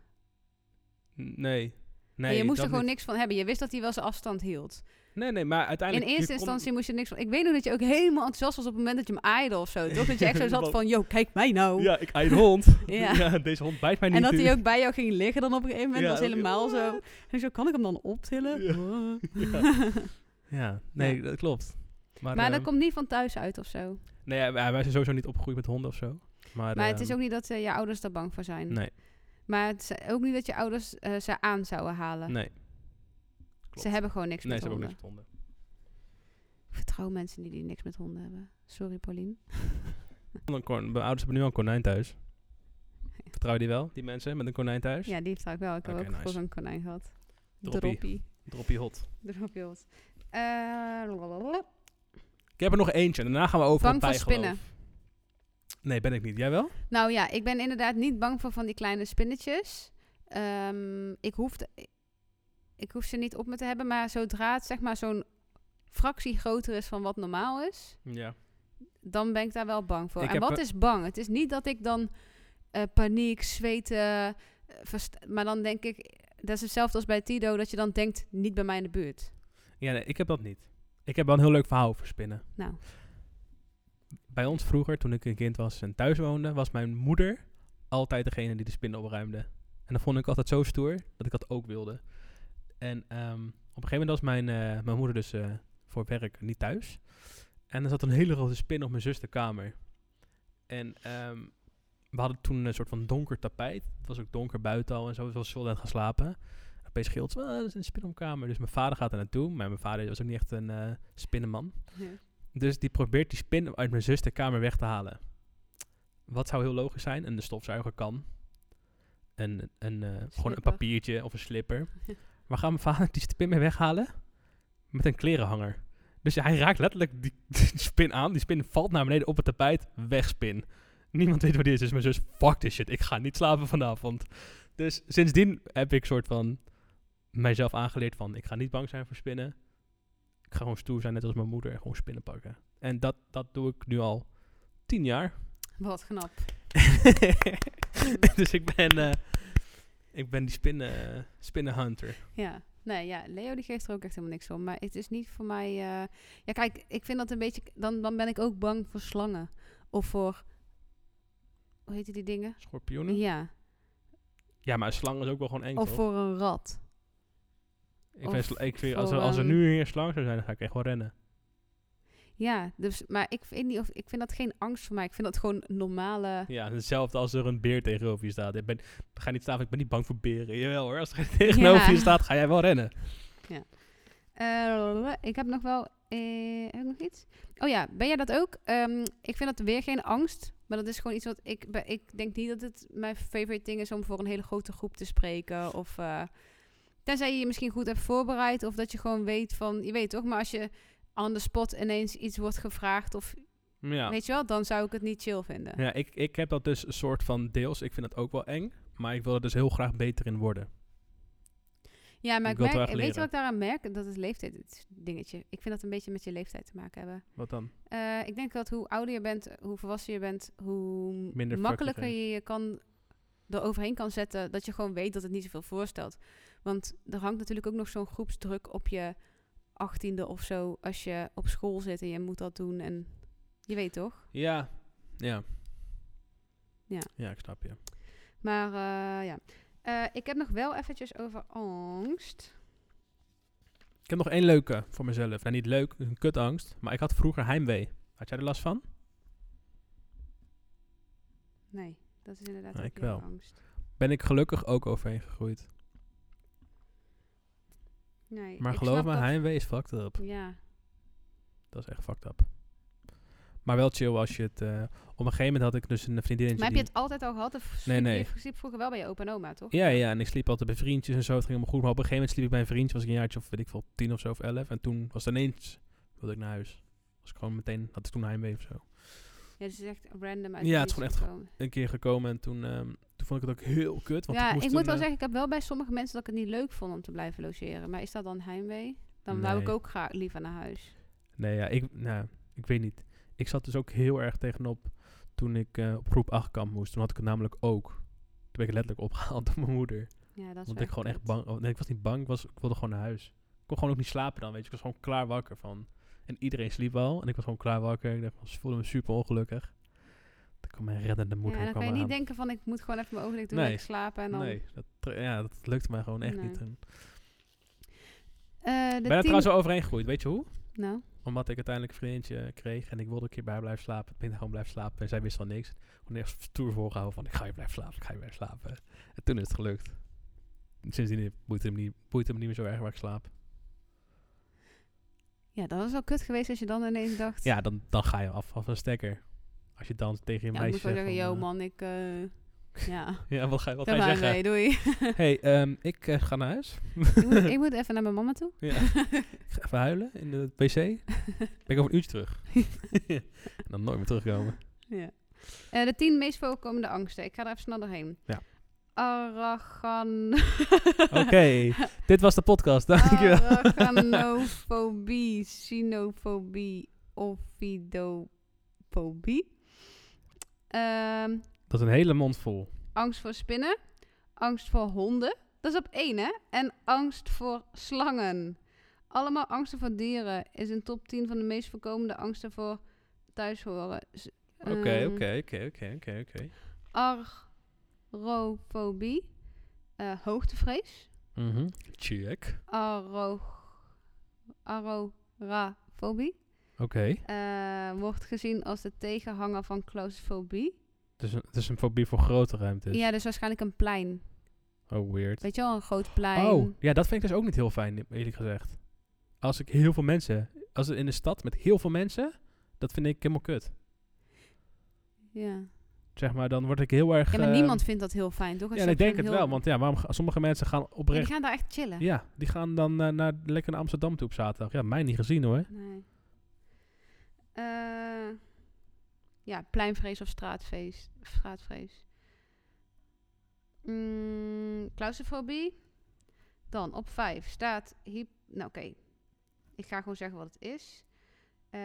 Speaker 1: Nee.
Speaker 2: En
Speaker 1: nee
Speaker 2: je moest er
Speaker 1: dat
Speaker 2: gewoon
Speaker 1: niet.
Speaker 2: niks van hebben. Je wist dat hij wel zijn afstand hield.
Speaker 1: Nee, nee, maar
Speaker 2: In
Speaker 1: uiteindelijk... je
Speaker 2: eerste
Speaker 1: kon-
Speaker 2: instantie moest je niks van... Ik weet nog dat je ook helemaal enthousiast was op het moment dat je hem aaide of zo. Toch? Dat je echt zo zat van, yo, kijk mij nou.
Speaker 1: Ja, ik aai de hond.
Speaker 2: Ja.
Speaker 1: ja. deze hond bijt mij niet.
Speaker 2: En dat hij
Speaker 1: natuurlijk.
Speaker 2: ook bij jou ging liggen dan op een gegeven moment.
Speaker 1: Ja,
Speaker 2: was
Speaker 1: dat-
Speaker 2: helemaal zo.
Speaker 1: What?
Speaker 2: En zo, kan ik hem dan optillen?
Speaker 1: Ja.
Speaker 2: maar
Speaker 1: Ja, nee,
Speaker 2: Ja.
Speaker 1: dat klopt. Maar,
Speaker 2: dat
Speaker 1: ehm,
Speaker 2: komt niet van thuis uit of zo.
Speaker 1: Nee, ja, wij wij zijn sowieso niet opgegroeid met honden of zo. Maar,
Speaker 2: Maar het
Speaker 1: ehm,
Speaker 2: is ook niet dat eh, je ouders daar bang voor zijn.
Speaker 1: Nee,
Speaker 2: Maar het is ook niet dat je ouders eh, ze aan zouden halen.
Speaker 1: nee.
Speaker 2: ze
Speaker 1: klopt.
Speaker 2: hebben gewoon niks
Speaker 1: Nee,
Speaker 2: met
Speaker 1: ze hebben ook
Speaker 2: honden.
Speaker 1: niks met honden.
Speaker 2: Ik vertrouw mensen die, die niks met honden hebben. Sorry, Pauline.
Speaker 1: Een korn- Mijn ouders hebben nu al een konijn thuis. Vertrouw je die wel, die mensen met een konijn thuis?
Speaker 2: Ja, die vertrouw ik wel. Ik heb
Speaker 1: Oké,
Speaker 2: ook voor
Speaker 1: nice.
Speaker 2: zo'n konijn gehad.
Speaker 1: Droppie.
Speaker 2: Droppie.
Speaker 1: Droppie hot.
Speaker 2: Droppie hot. Eh, lalalala.
Speaker 1: Ik heb er nog eentje. Daarna gaan we over
Speaker 2: Bang
Speaker 1: op
Speaker 2: voor
Speaker 1: bijgeloof.
Speaker 2: spinnen.
Speaker 1: Nee, ben ik niet. Jij wel?
Speaker 2: Nou ja, ik ben inderdaad niet bang voor van die kleine spinnetjes. Ehm, ik, hoef de- ik hoef ze niet op me te hebben, maar zodra het zeg maar zo'n fractie groter is van wat normaal is,
Speaker 1: Ja.
Speaker 2: dan ben ik daar wel bang voor.
Speaker 1: Ik
Speaker 2: en
Speaker 1: heb
Speaker 2: wat
Speaker 1: wel-
Speaker 2: is bang? Het is niet dat ik dan eh, paniek, zweten, eh, verst- maar dan denk ik, dat is hetzelfde als bij Tido, dat je dan denkt, niet bij mij in de buurt.
Speaker 1: Ja, nee, ik heb dat niet. Ik heb wel een heel leuk verhaal over spinnen.
Speaker 2: Nou,
Speaker 1: Bij ons vroeger, toen ik een kind was en thuis woonde, was mijn moeder altijd degene die de spinnen opruimde. En dat vond ik altijd zo stoer dat ik dat ook wilde. En ehm, op een gegeven moment was mijn, eh, mijn moeder dus eh, voor werk niet thuis. En er zat een hele grote spin op mijn zuster's kamer. En ehm, we hadden toen een soort van donker tapijt. Het was ook donker buiten al en zo. Het was wel net gaan slapen. En Opeens scheelt ze, "Ah, er is een spin op mijn kamer. Dus mijn vader gaat er naartoe. Maar mijn vader was ook niet echt een eh spinnenman.
Speaker 2: ja.
Speaker 1: Dus die probeert die spin uit mijn zus de kamer weg te halen. Wat zou heel logisch zijn? Een stofzuiger kan. Een, een, eh, gewoon een
Speaker 2: Slipper.
Speaker 1: papiertje of een slipper. Maar gaat mijn vader die spin mee weghalen? Met een klerenhanger. Dus hij raakt letterlijk die, die spin aan. Die spin valt naar beneden op het tapijt. Wegspin. Niemand weet wat dit is. Dus mijn zus, fuck this shit. Ik ga niet slapen vanavond. Dus sindsdien heb ik soort van mijzelf aangeleerd van... Ik ga niet bang zijn voor spinnen. Ik ga gewoon stoer zijn, net als mijn moeder. En gewoon spinnen pakken. En dat, dat doe ik nu al tien jaar.
Speaker 2: wat knap.
Speaker 1: dus ik ben... eh, ik ben die spinnen, spinnenhunter.
Speaker 2: Ja, nee, ja, Leo die geeft er ook echt helemaal niks om. Maar het is niet voor mij. eh, Ja, kijk, ik vind dat een beetje. Dan, dan ben ik ook bang voor slangen. Of voor. Hoe heet die dingen?
Speaker 1: Schorpioenen?
Speaker 2: Ja.
Speaker 1: Ja, maar een slang is ook wel gewoon eng,
Speaker 2: Of
Speaker 1: toch?
Speaker 2: voor een rat.
Speaker 1: ik vind,
Speaker 2: of
Speaker 1: sla- ik vind, als,
Speaker 2: voor,
Speaker 1: er, als er
Speaker 2: ehm,
Speaker 1: nu hier een slang zou zijn, dan ga ik echt wel rennen.
Speaker 2: Ja, dus, maar ik vind, niet, of, ik vind dat geen angst voor mij. Ik vind dat gewoon normale.
Speaker 1: Ja, hetzelfde als er een beer tegenover je staat. Ik ben, ga niet staan, van, ik ben niet bang voor beren. Jawel hoor, als er geen tegenover
Speaker 2: Ja.
Speaker 1: je staat, ga jij wel rennen.
Speaker 2: Eh, ik heb nog wel. eh, heb ik nog iets? Oh ja, ben jij dat ook? Ehm, ik vind dat weer geen angst. Maar dat is gewoon iets wat ik. be- Ik denk niet dat het mijn favorite ding is om voor een hele grote groep te spreken. Of. eh, tenzij je je misschien goed hebt voorbereid. Of dat je gewoon weet van. Je weet toch, maar als je on the spot ineens iets wordt gevraagd. Of
Speaker 1: Ja,
Speaker 2: weet je wel, dan zou ik het niet chill vinden.
Speaker 1: ja ik, ik heb dat dus een soort van deels. Ik vind dat ook wel eng. Maar ik wil er dus heel graag beter in worden.
Speaker 2: Ja, maar
Speaker 1: Ik
Speaker 2: ik
Speaker 1: wil het
Speaker 2: merk,
Speaker 1: wel echt
Speaker 2: weet je wat
Speaker 1: leren.
Speaker 2: ik daaraan merk? Dat is leeftijd het dingetje. Ik vind dat een beetje met je leeftijd te maken hebben.
Speaker 1: Wat dan?
Speaker 2: Eh, ik denk dat hoe ouder je bent, hoe volwassen je bent, hoe
Speaker 1: Minder
Speaker 2: makkelijker
Speaker 1: fucking
Speaker 2: je je kan eroverheen kan zetten. Dat je gewoon weet dat het niet zoveel voorstelt. Want er hangt natuurlijk ook nog zo'n groepsdruk op je achttiende of zo. Als je op school zit en je moet dat doen. En je weet toch?
Speaker 1: Ja, ja.
Speaker 2: Ja.
Speaker 1: Ja, ik snap je.
Speaker 2: Maar eh, ja. Eh, ik heb nog wel eventjes over angst.
Speaker 1: Ik heb nog één leuke voor mezelf. Nou, niet leuk, een kutangst. Maar ik had vroeger heimwee. Had jij er last van?
Speaker 2: Nee, dat is inderdaad
Speaker 1: Ah,
Speaker 2: ook
Speaker 1: ik
Speaker 2: weer
Speaker 1: wel.
Speaker 2: angst.
Speaker 1: Ben ik gelukkig ook overheen gegroeid.
Speaker 2: Nee,
Speaker 1: Maar
Speaker 2: ik
Speaker 1: geloof
Speaker 2: snap
Speaker 1: me,
Speaker 2: dat-
Speaker 1: heimwee is fucked up.
Speaker 2: Ja,
Speaker 1: Dat is echt fucked up. Maar wel chill als je het... eh, op een gegeven moment had ik dus een vriendinnetje
Speaker 2: Maar heb
Speaker 1: die-
Speaker 2: je het altijd al gehad? Of
Speaker 1: Nee,
Speaker 2: sliep
Speaker 1: nee.
Speaker 2: je sliep vroeger wel bij je opa en oma, toch?
Speaker 1: Ja, ja, en ik sliep altijd bij vriendjes en zo. Het ging allemaal goed. Maar op een gegeven moment sliep ik bij een vriendje. Was ik een jaartje of weet ik veel, tien of zo of elf. En toen was het ineens, wilde ik naar huis. Was ik gewoon meteen, had ik toen heimwee of zo.
Speaker 2: Ja, dus het is echt random uit
Speaker 1: Ja,
Speaker 2: de
Speaker 1: het is gewoon
Speaker 2: niets
Speaker 1: echt
Speaker 2: gekomen.
Speaker 1: Een keer gekomen en toen, ehm, toen vond ik het ook heel kut. Want
Speaker 2: ja,
Speaker 1: ik, moest
Speaker 2: ik moet
Speaker 1: toen,
Speaker 2: wel
Speaker 1: eh,
Speaker 2: zeggen, ik heb wel bij sommige mensen dat ik het niet leuk vond om te blijven logeren. Maar is dat dan heimwee? Dan wou ik
Speaker 1: Nee.
Speaker 2: ook graag liever naar huis.
Speaker 1: Nee, ja, ik, nou, ik weet niet. Ik zat dus ook heel erg tegenop toen ik eh, op groep 8 kamp moest. Toen had ik het namelijk ook. Toen ben ik letterlijk opgehaald door mijn moeder.
Speaker 2: Ja, dat
Speaker 1: Want
Speaker 2: is wel
Speaker 1: ik gewoon echt
Speaker 2: kut.
Speaker 1: bang... oh, nee, ik was niet bang. Ik, was, ik wilde gewoon naar huis. Ik kon gewoon ook niet slapen dan, weet je. Ik was gewoon klaar wakker van... En iedereen sliep al. En ik was gewoon klaar wakker. Ik dacht, van, ze voelden me super ongelukkig. Toen kwam mijn reddende
Speaker 2: Ja,
Speaker 1: moeder
Speaker 2: en dan
Speaker 1: kwam
Speaker 2: kan je niet
Speaker 1: aan.
Speaker 2: denken van ik moet gewoon even mijn ogen dicht doen,
Speaker 1: Nee.
Speaker 2: lekker slapen en dan... eh,
Speaker 1: Nee, dat, ja, dat lukte mij gewoon echt
Speaker 2: Nee.
Speaker 1: niet. toen. ben
Speaker 2: Eh, de
Speaker 1: er
Speaker 2: tien-
Speaker 1: trouwens wel overheen gegroeid, weet je hoe?
Speaker 2: Nou,
Speaker 1: Omdat ik uiteindelijk een vriendje kreeg en ik wilde een keer bij haar blijven slapen. Ik ben ik gewoon blijven slapen en zij wist van niks. Ik kon echt stoer voorgehouden van ik ga je blijven slapen, ik ga je blijven slapen. En toen is het gelukt. En Sindsdien boeit het, hem niet, boeit het hem niet meer zo erg waar ik slaap.
Speaker 2: ja, dat was wel kut geweest als je dan ineens dacht...
Speaker 1: Ja, dan, dan ga je af als een stekker. Als je dan tegen je
Speaker 2: Ja, ik
Speaker 1: meisje
Speaker 2: moet wel
Speaker 1: zegt
Speaker 2: zeggen,
Speaker 1: van,
Speaker 2: yo
Speaker 1: eh,
Speaker 2: man, ik... eh, ja,
Speaker 1: Ja, wat ga, je- wat
Speaker 2: dat
Speaker 1: ga je
Speaker 2: maar
Speaker 1: zeggen?
Speaker 2: mee, doei.
Speaker 1: hey, ehm, ik eh, ga naar huis.
Speaker 2: ik, moet, ik moet even naar mijn mama toe.
Speaker 1: Ja. ik ga even huilen in de wc. Ben ik over een uurtje terug. en dan nooit meer terugkomen.
Speaker 2: Ja. Eh, de tien meest voorkomende angsten. Ik ga er even snel doorheen.
Speaker 1: Ja.
Speaker 2: Arachan...
Speaker 1: Oké, dit was de podcast.
Speaker 2: Oh.
Speaker 1: Dankjewel.
Speaker 2: Arachnofobie, sinofobie, ovidofobie. Ehm,
Speaker 1: Dat is een hele mond vol.
Speaker 2: angst voor spinnen, angst voor honden. Dat is op één, hè? En angst voor slangen. Allemaal angsten voor dieren is een top 10 van de meest voorkomende angsten voor thuishoren. Z-
Speaker 1: Oké,
Speaker 2: ehm,
Speaker 1: oké, oké, oké, oké, oké.
Speaker 2: Arrofobie, eh, hoogtevrees.
Speaker 1: Check.
Speaker 2: Arro, arorafobie.
Speaker 1: Oké.
Speaker 2: eh, wordt gezien als de tegenhanger van claustrofobie.
Speaker 1: Dus een- het is een fobie voor grote ruimtes.
Speaker 2: Ja, dus waarschijnlijk een plein.
Speaker 1: Oh, weird.
Speaker 2: Weet je wel, een groot plein.
Speaker 1: Oh, ja, dat vind ik dus ook niet heel fijn, eerlijk gezegd. Als ik heel veel mensen... Als het in de stad met heel veel mensen... Dat vind ik helemaal kut.
Speaker 2: Ja.
Speaker 1: Zeg maar, dan word ik heel erg...
Speaker 2: ja, maar
Speaker 1: eh,
Speaker 2: niemand vindt dat heel fijn, toch? Als
Speaker 1: Ja,
Speaker 2: je
Speaker 1: en ik
Speaker 2: op
Speaker 1: denk
Speaker 2: zo'n
Speaker 1: het
Speaker 2: heel-
Speaker 1: wel. Want ja, waarom ga- sommige mensen gaan
Speaker 2: Ja, die
Speaker 1: oprecht...
Speaker 2: gaan daar echt chillen.
Speaker 1: Ja, die gaan dan eh, naar, lekker naar Amsterdam toe op zaterdag. Ja, mij niet gezien hoor.
Speaker 2: Nee. Eh, ja, pleinvrees of straatvrees. straatvrees. Mm, claustrofobie. Dan op vijf staat... Hyp nou, oké. Ik ga gewoon zeggen wat het is. Eh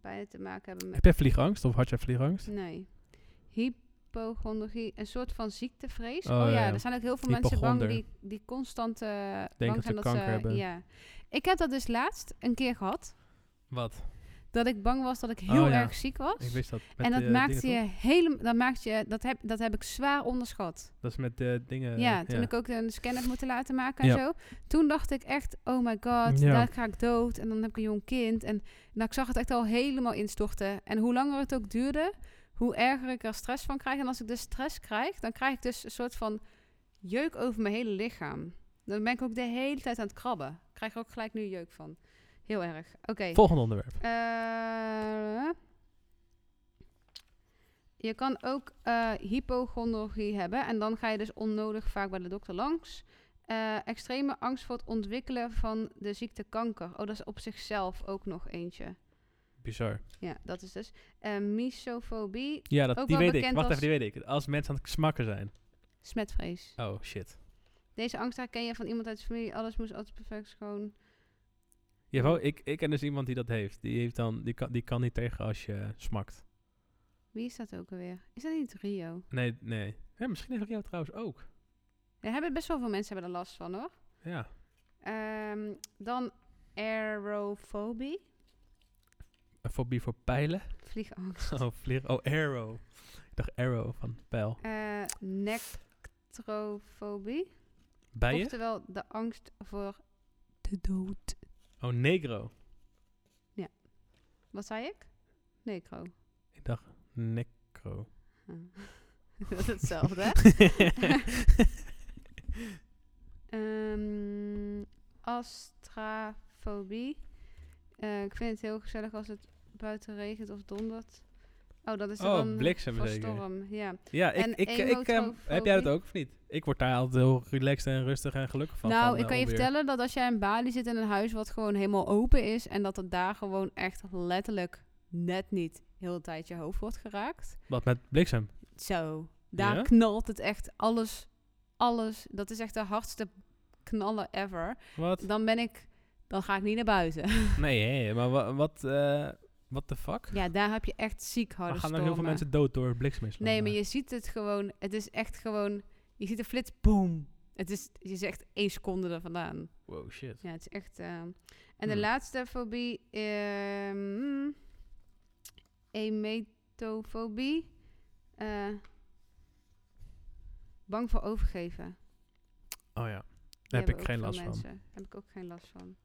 Speaker 2: bijna te maken hebben met...
Speaker 1: Heb jij vliegangst of had jij vliegangst?
Speaker 2: Nee. Hypochondrie. Een soort van ziektevrees.
Speaker 1: Oh,
Speaker 2: Oh, ja,
Speaker 1: ja, ja.
Speaker 2: er zijn ook heel veel mensen bang
Speaker 1: Hypochonder.
Speaker 2: die, die constant eh,
Speaker 1: dat
Speaker 2: bang
Speaker 1: ze
Speaker 2: zijn dat
Speaker 1: kanker
Speaker 2: ze...
Speaker 1: hebben.
Speaker 2: Ja. Ik heb dat dus laatst een keer gehad
Speaker 1: Wat?
Speaker 2: dat ik bang was dat ik heel
Speaker 1: Oh, ja.
Speaker 2: erg ziek was.
Speaker 1: Ik wist dat. Met
Speaker 2: en dat
Speaker 1: die, eh, dingen,
Speaker 2: maakte
Speaker 1: toch?
Speaker 2: je helemaal, dat maakte je, dat heb, dat heb ik zwaar onderschat.
Speaker 1: Dat is met de dingen...
Speaker 2: ja, toen
Speaker 1: Eh, ja.
Speaker 2: ik ook een scan heb moeten laten maken en
Speaker 1: Ja.
Speaker 2: zo. Toen dacht ik echt, oh my god,
Speaker 1: Ja.
Speaker 2: daar ga ik dood. En dan heb ik een jong kind. En nou, ik zag het echt al helemaal instorten. En hoe langer het ook duurde, hoe erger ik er stress van krijg. En als ik dus stress krijg, dan krijg ik dus een soort van jeuk over mijn hele lichaam. Dan ben ik ook de hele tijd aan het krabben. Ik krijg er ook gelijk nu jeuk van. Heel erg. Oké.
Speaker 1: Volgende onderwerp.
Speaker 2: Eh, je kan ook eh hypochondrie hebben en dan ga je dus onnodig vaak bij de dokter langs. Eh, extreme angst voor het ontwikkelen van de ziekte kanker. Oh, dat is op zichzelf ook nog eentje.
Speaker 1: Bizar.
Speaker 2: Ja, dat is dus. Eh misofobie,
Speaker 1: Ja, dat,
Speaker 2: Ook
Speaker 1: die
Speaker 2: wel
Speaker 1: weet ik.
Speaker 2: bekend
Speaker 1: Wacht
Speaker 2: als-
Speaker 1: even, die weet ik. Als mensen aan het smakken zijn.
Speaker 2: smetvrees.
Speaker 1: Oh, shit.
Speaker 2: Deze angst herken je van iemand uit de familie. Alles moest altijd perfect schoon.
Speaker 1: Ja, wel, ik, ik ken dus iemand die dat heeft. Die, heeft dan, die, kan, die kan niet tegen als je smakt.
Speaker 2: Wie is dat ook alweer? Is dat niet Rio?
Speaker 1: Nee, nee. Ja, misschien heeft jou trouwens ook.
Speaker 2: Er hebben best wel veel mensen hebben er last van hoor.
Speaker 1: Ja.
Speaker 2: Ehm, dan aerofobie.
Speaker 1: Een fobie voor pijlen.
Speaker 2: Vliegangst.
Speaker 1: Oh, vlieg. Oh, arrow. Ik dacht arrow van pijl.
Speaker 2: Eh, nectrofobie.
Speaker 1: Bijen?
Speaker 2: Oftewel de angst voor de dood.
Speaker 1: Oh, negro.
Speaker 2: Wat zei ik? Necro.
Speaker 1: Ik dacht necro.
Speaker 2: Ah. Dat is hetzelfde, hè? Ehm, astrafobie. Eh, ik vind het heel gezellig als het buiten regent of dondert. Oh, dat is
Speaker 1: Oh,
Speaker 2: dan
Speaker 1: bliksem
Speaker 2: van
Speaker 1: zeker.
Speaker 2: storm. Ja.
Speaker 1: Ja, ik,
Speaker 2: En
Speaker 1: ik, ik, ehm,
Speaker 2: emotrofobie?
Speaker 1: heb jij dat ook of niet? Ik word daar altijd heel relaxed en rustig en gelukkig van.
Speaker 2: nou,
Speaker 1: van,
Speaker 2: ik
Speaker 1: eh,
Speaker 2: kan je
Speaker 1: onweer.
Speaker 2: vertellen dat als jij in Bali zit in een huis wat gewoon helemaal open is en dat het daar gewoon echt letterlijk net niet heel de tijd je hoofd wordt geraakt.
Speaker 1: Wat met bliksem?
Speaker 2: Zo, daar
Speaker 1: Ja?
Speaker 2: knalt het echt alles, alles. Dat is echt de hardste knallen ever.
Speaker 1: Wat?
Speaker 2: Dan ben ik, dan ga ik niet naar buiten.
Speaker 1: Nee, hé, maar wa- wat, eh wat de fuck?
Speaker 2: ja, daar heb je echt ziek harde
Speaker 1: Maar gaan er heel veel
Speaker 2: stormen.
Speaker 1: mensen dood Oh, door blikseminslag?
Speaker 2: Oh, Nee, maar je ziet het gewoon. Het is echt gewoon. Je ziet een flits, boom. Het is, je zegt één seconde er vandaan.
Speaker 1: Wow, shit.
Speaker 2: Ja, het is echt. ehm. En de
Speaker 1: Hmm.
Speaker 2: laatste fobie, ehm emetofobie. Eh, bang voor overgeven.
Speaker 1: Oh ja,
Speaker 2: Die
Speaker 1: daar heb
Speaker 2: hebben
Speaker 1: ik
Speaker 2: ook
Speaker 1: geen
Speaker 2: veel
Speaker 1: last van.
Speaker 2: mensen. Daar heb ik ook geen last van.